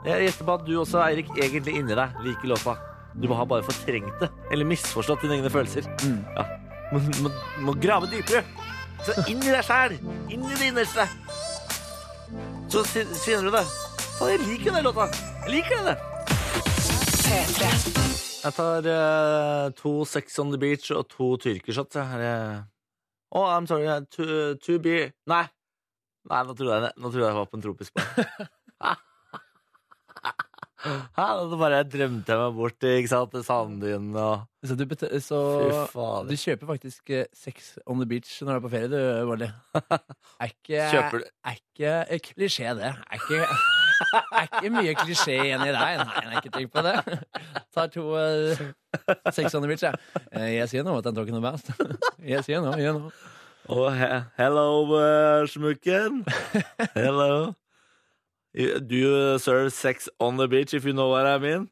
Jeg gjetter på at du også, Eirik, egentlig inni deg liker låta. Du må ha bare fortrengt det, eller misforstått dine egne følelser. Mm. Ja. Må, må, må grave dypere. Så inn i deg sjæl. Inn i det innerste. Så si- sier du det. Faen, jeg liker den låta. Jeg liker den. Jeg tar eh, to Sex on the Beach og to tyrkershots. jeg. Her er- Å, I'm sorry. eh, To, to beer Nei. Nei, nå trodde jeg, nå trodde jeg jeg var på en tropisk bar. Hæ? Nå bare drømte jeg meg bort ikke sant, til sanddynene og Så du, bet- så Fy du fader. kjøper faktisk eh, sex on the beach når du er på ferie, du, Molly. Er ikke, Kjøper du- Er ikke eh, klisjé, det. Er ikke, er ikke mye klisjé igjen i deg. Nei, jeg har ikke tenkt på det. Tar to eh, sex on the beach, jeg. Eh, yes, you know what I'm talking about. Yes, you know, you know. Og he hello, eh, smukken. Hello. You- Do you serve sex on the beach if you know what I mean?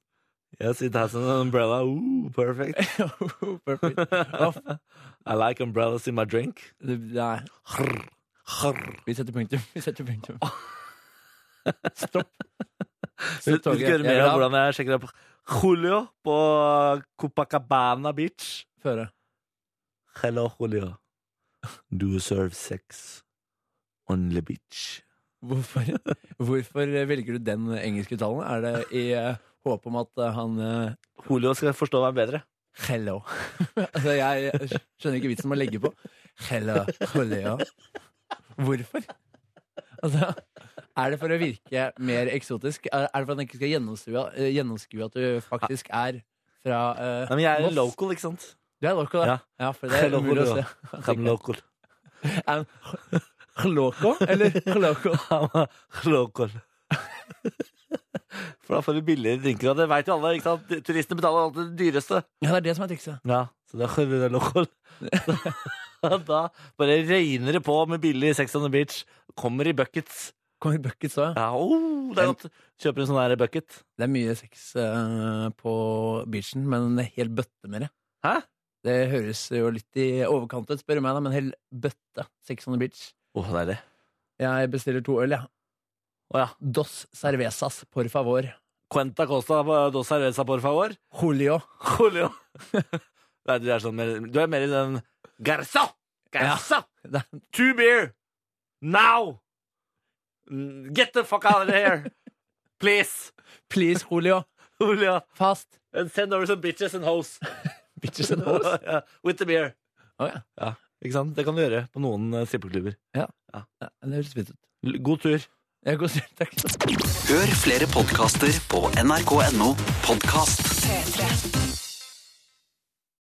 Yes, it has an umbrella. Ooh, perfect. Perfect. I like umbrellas in my drink. Det- Nei, vi setter punktum. Vi setter punktum. Stopp. Vil Stopp vil du ikke toget. høre Jeg mer vil om av. hvordan jeg sjekker opp Julio på Copacabana Beach? Føre. Hello, Julio. Do you serve sex on the beach? Hvorfor, hvorfor velger du den engelske talen? Er det i eh, håp om at eh, han eh, Julio skal forstå meg bedre. Hello. altså, jeg skjønner ikke vitsen med å legge på. Hello, hello. Hvorfor? Altså, er det for å virke mer eksotisk? Er er det for at han ikke skal gjennomskue, eh, gjennomskue at du faktisk er fra eh, Nei, men jeg er Moss? local, ikke sant? Du er loco, da. Ja. Ja, for det er Hello, umulig å hello. se. I'm local. Er han Loco eller loco? I'm local. For da får du billigere drinker, og det veit jo alle. ikke sant? Turistene betaler alltid det dyreste. Ja, det er det som er trikset. Ja, så da skjønner jeg lokal. Da bare regner det på med billig Sex on the Beach. Kommer i buckets. Kommer i bucket, så. ja. Ja, oh, det er godt. Kjøper en sånn her bucket. Det er mye sex eh, på beachen, men en hel bøtte med det. Hæ? Det høres jo litt i overkant ut, spør du meg, da, men en hel bøtte sex on the beach. Åh, det er det. Jeg bestiller to øl, jeg. Å ja. Dos cervezas, por favor. Cuenta Costa på dos cerveza, por favor. Julio. Julio. Nei, du er sånn mer Du er mer i den Garza! Garza! Det er- Two beer! Now! Mm, Get the fuck out of here! Please! Please, Julio. Julio. Fast. And send over some bitches and hoes. Bitches and hoes. Ja, With the beer. Å, ja. Ikke sant? Det kan du gjøre på noen eh, strippeklubber. ja. Det høres fint ut. L- God tur. Jeg går selv, takk. Hør flere podkaster på nrk.no podkast. 3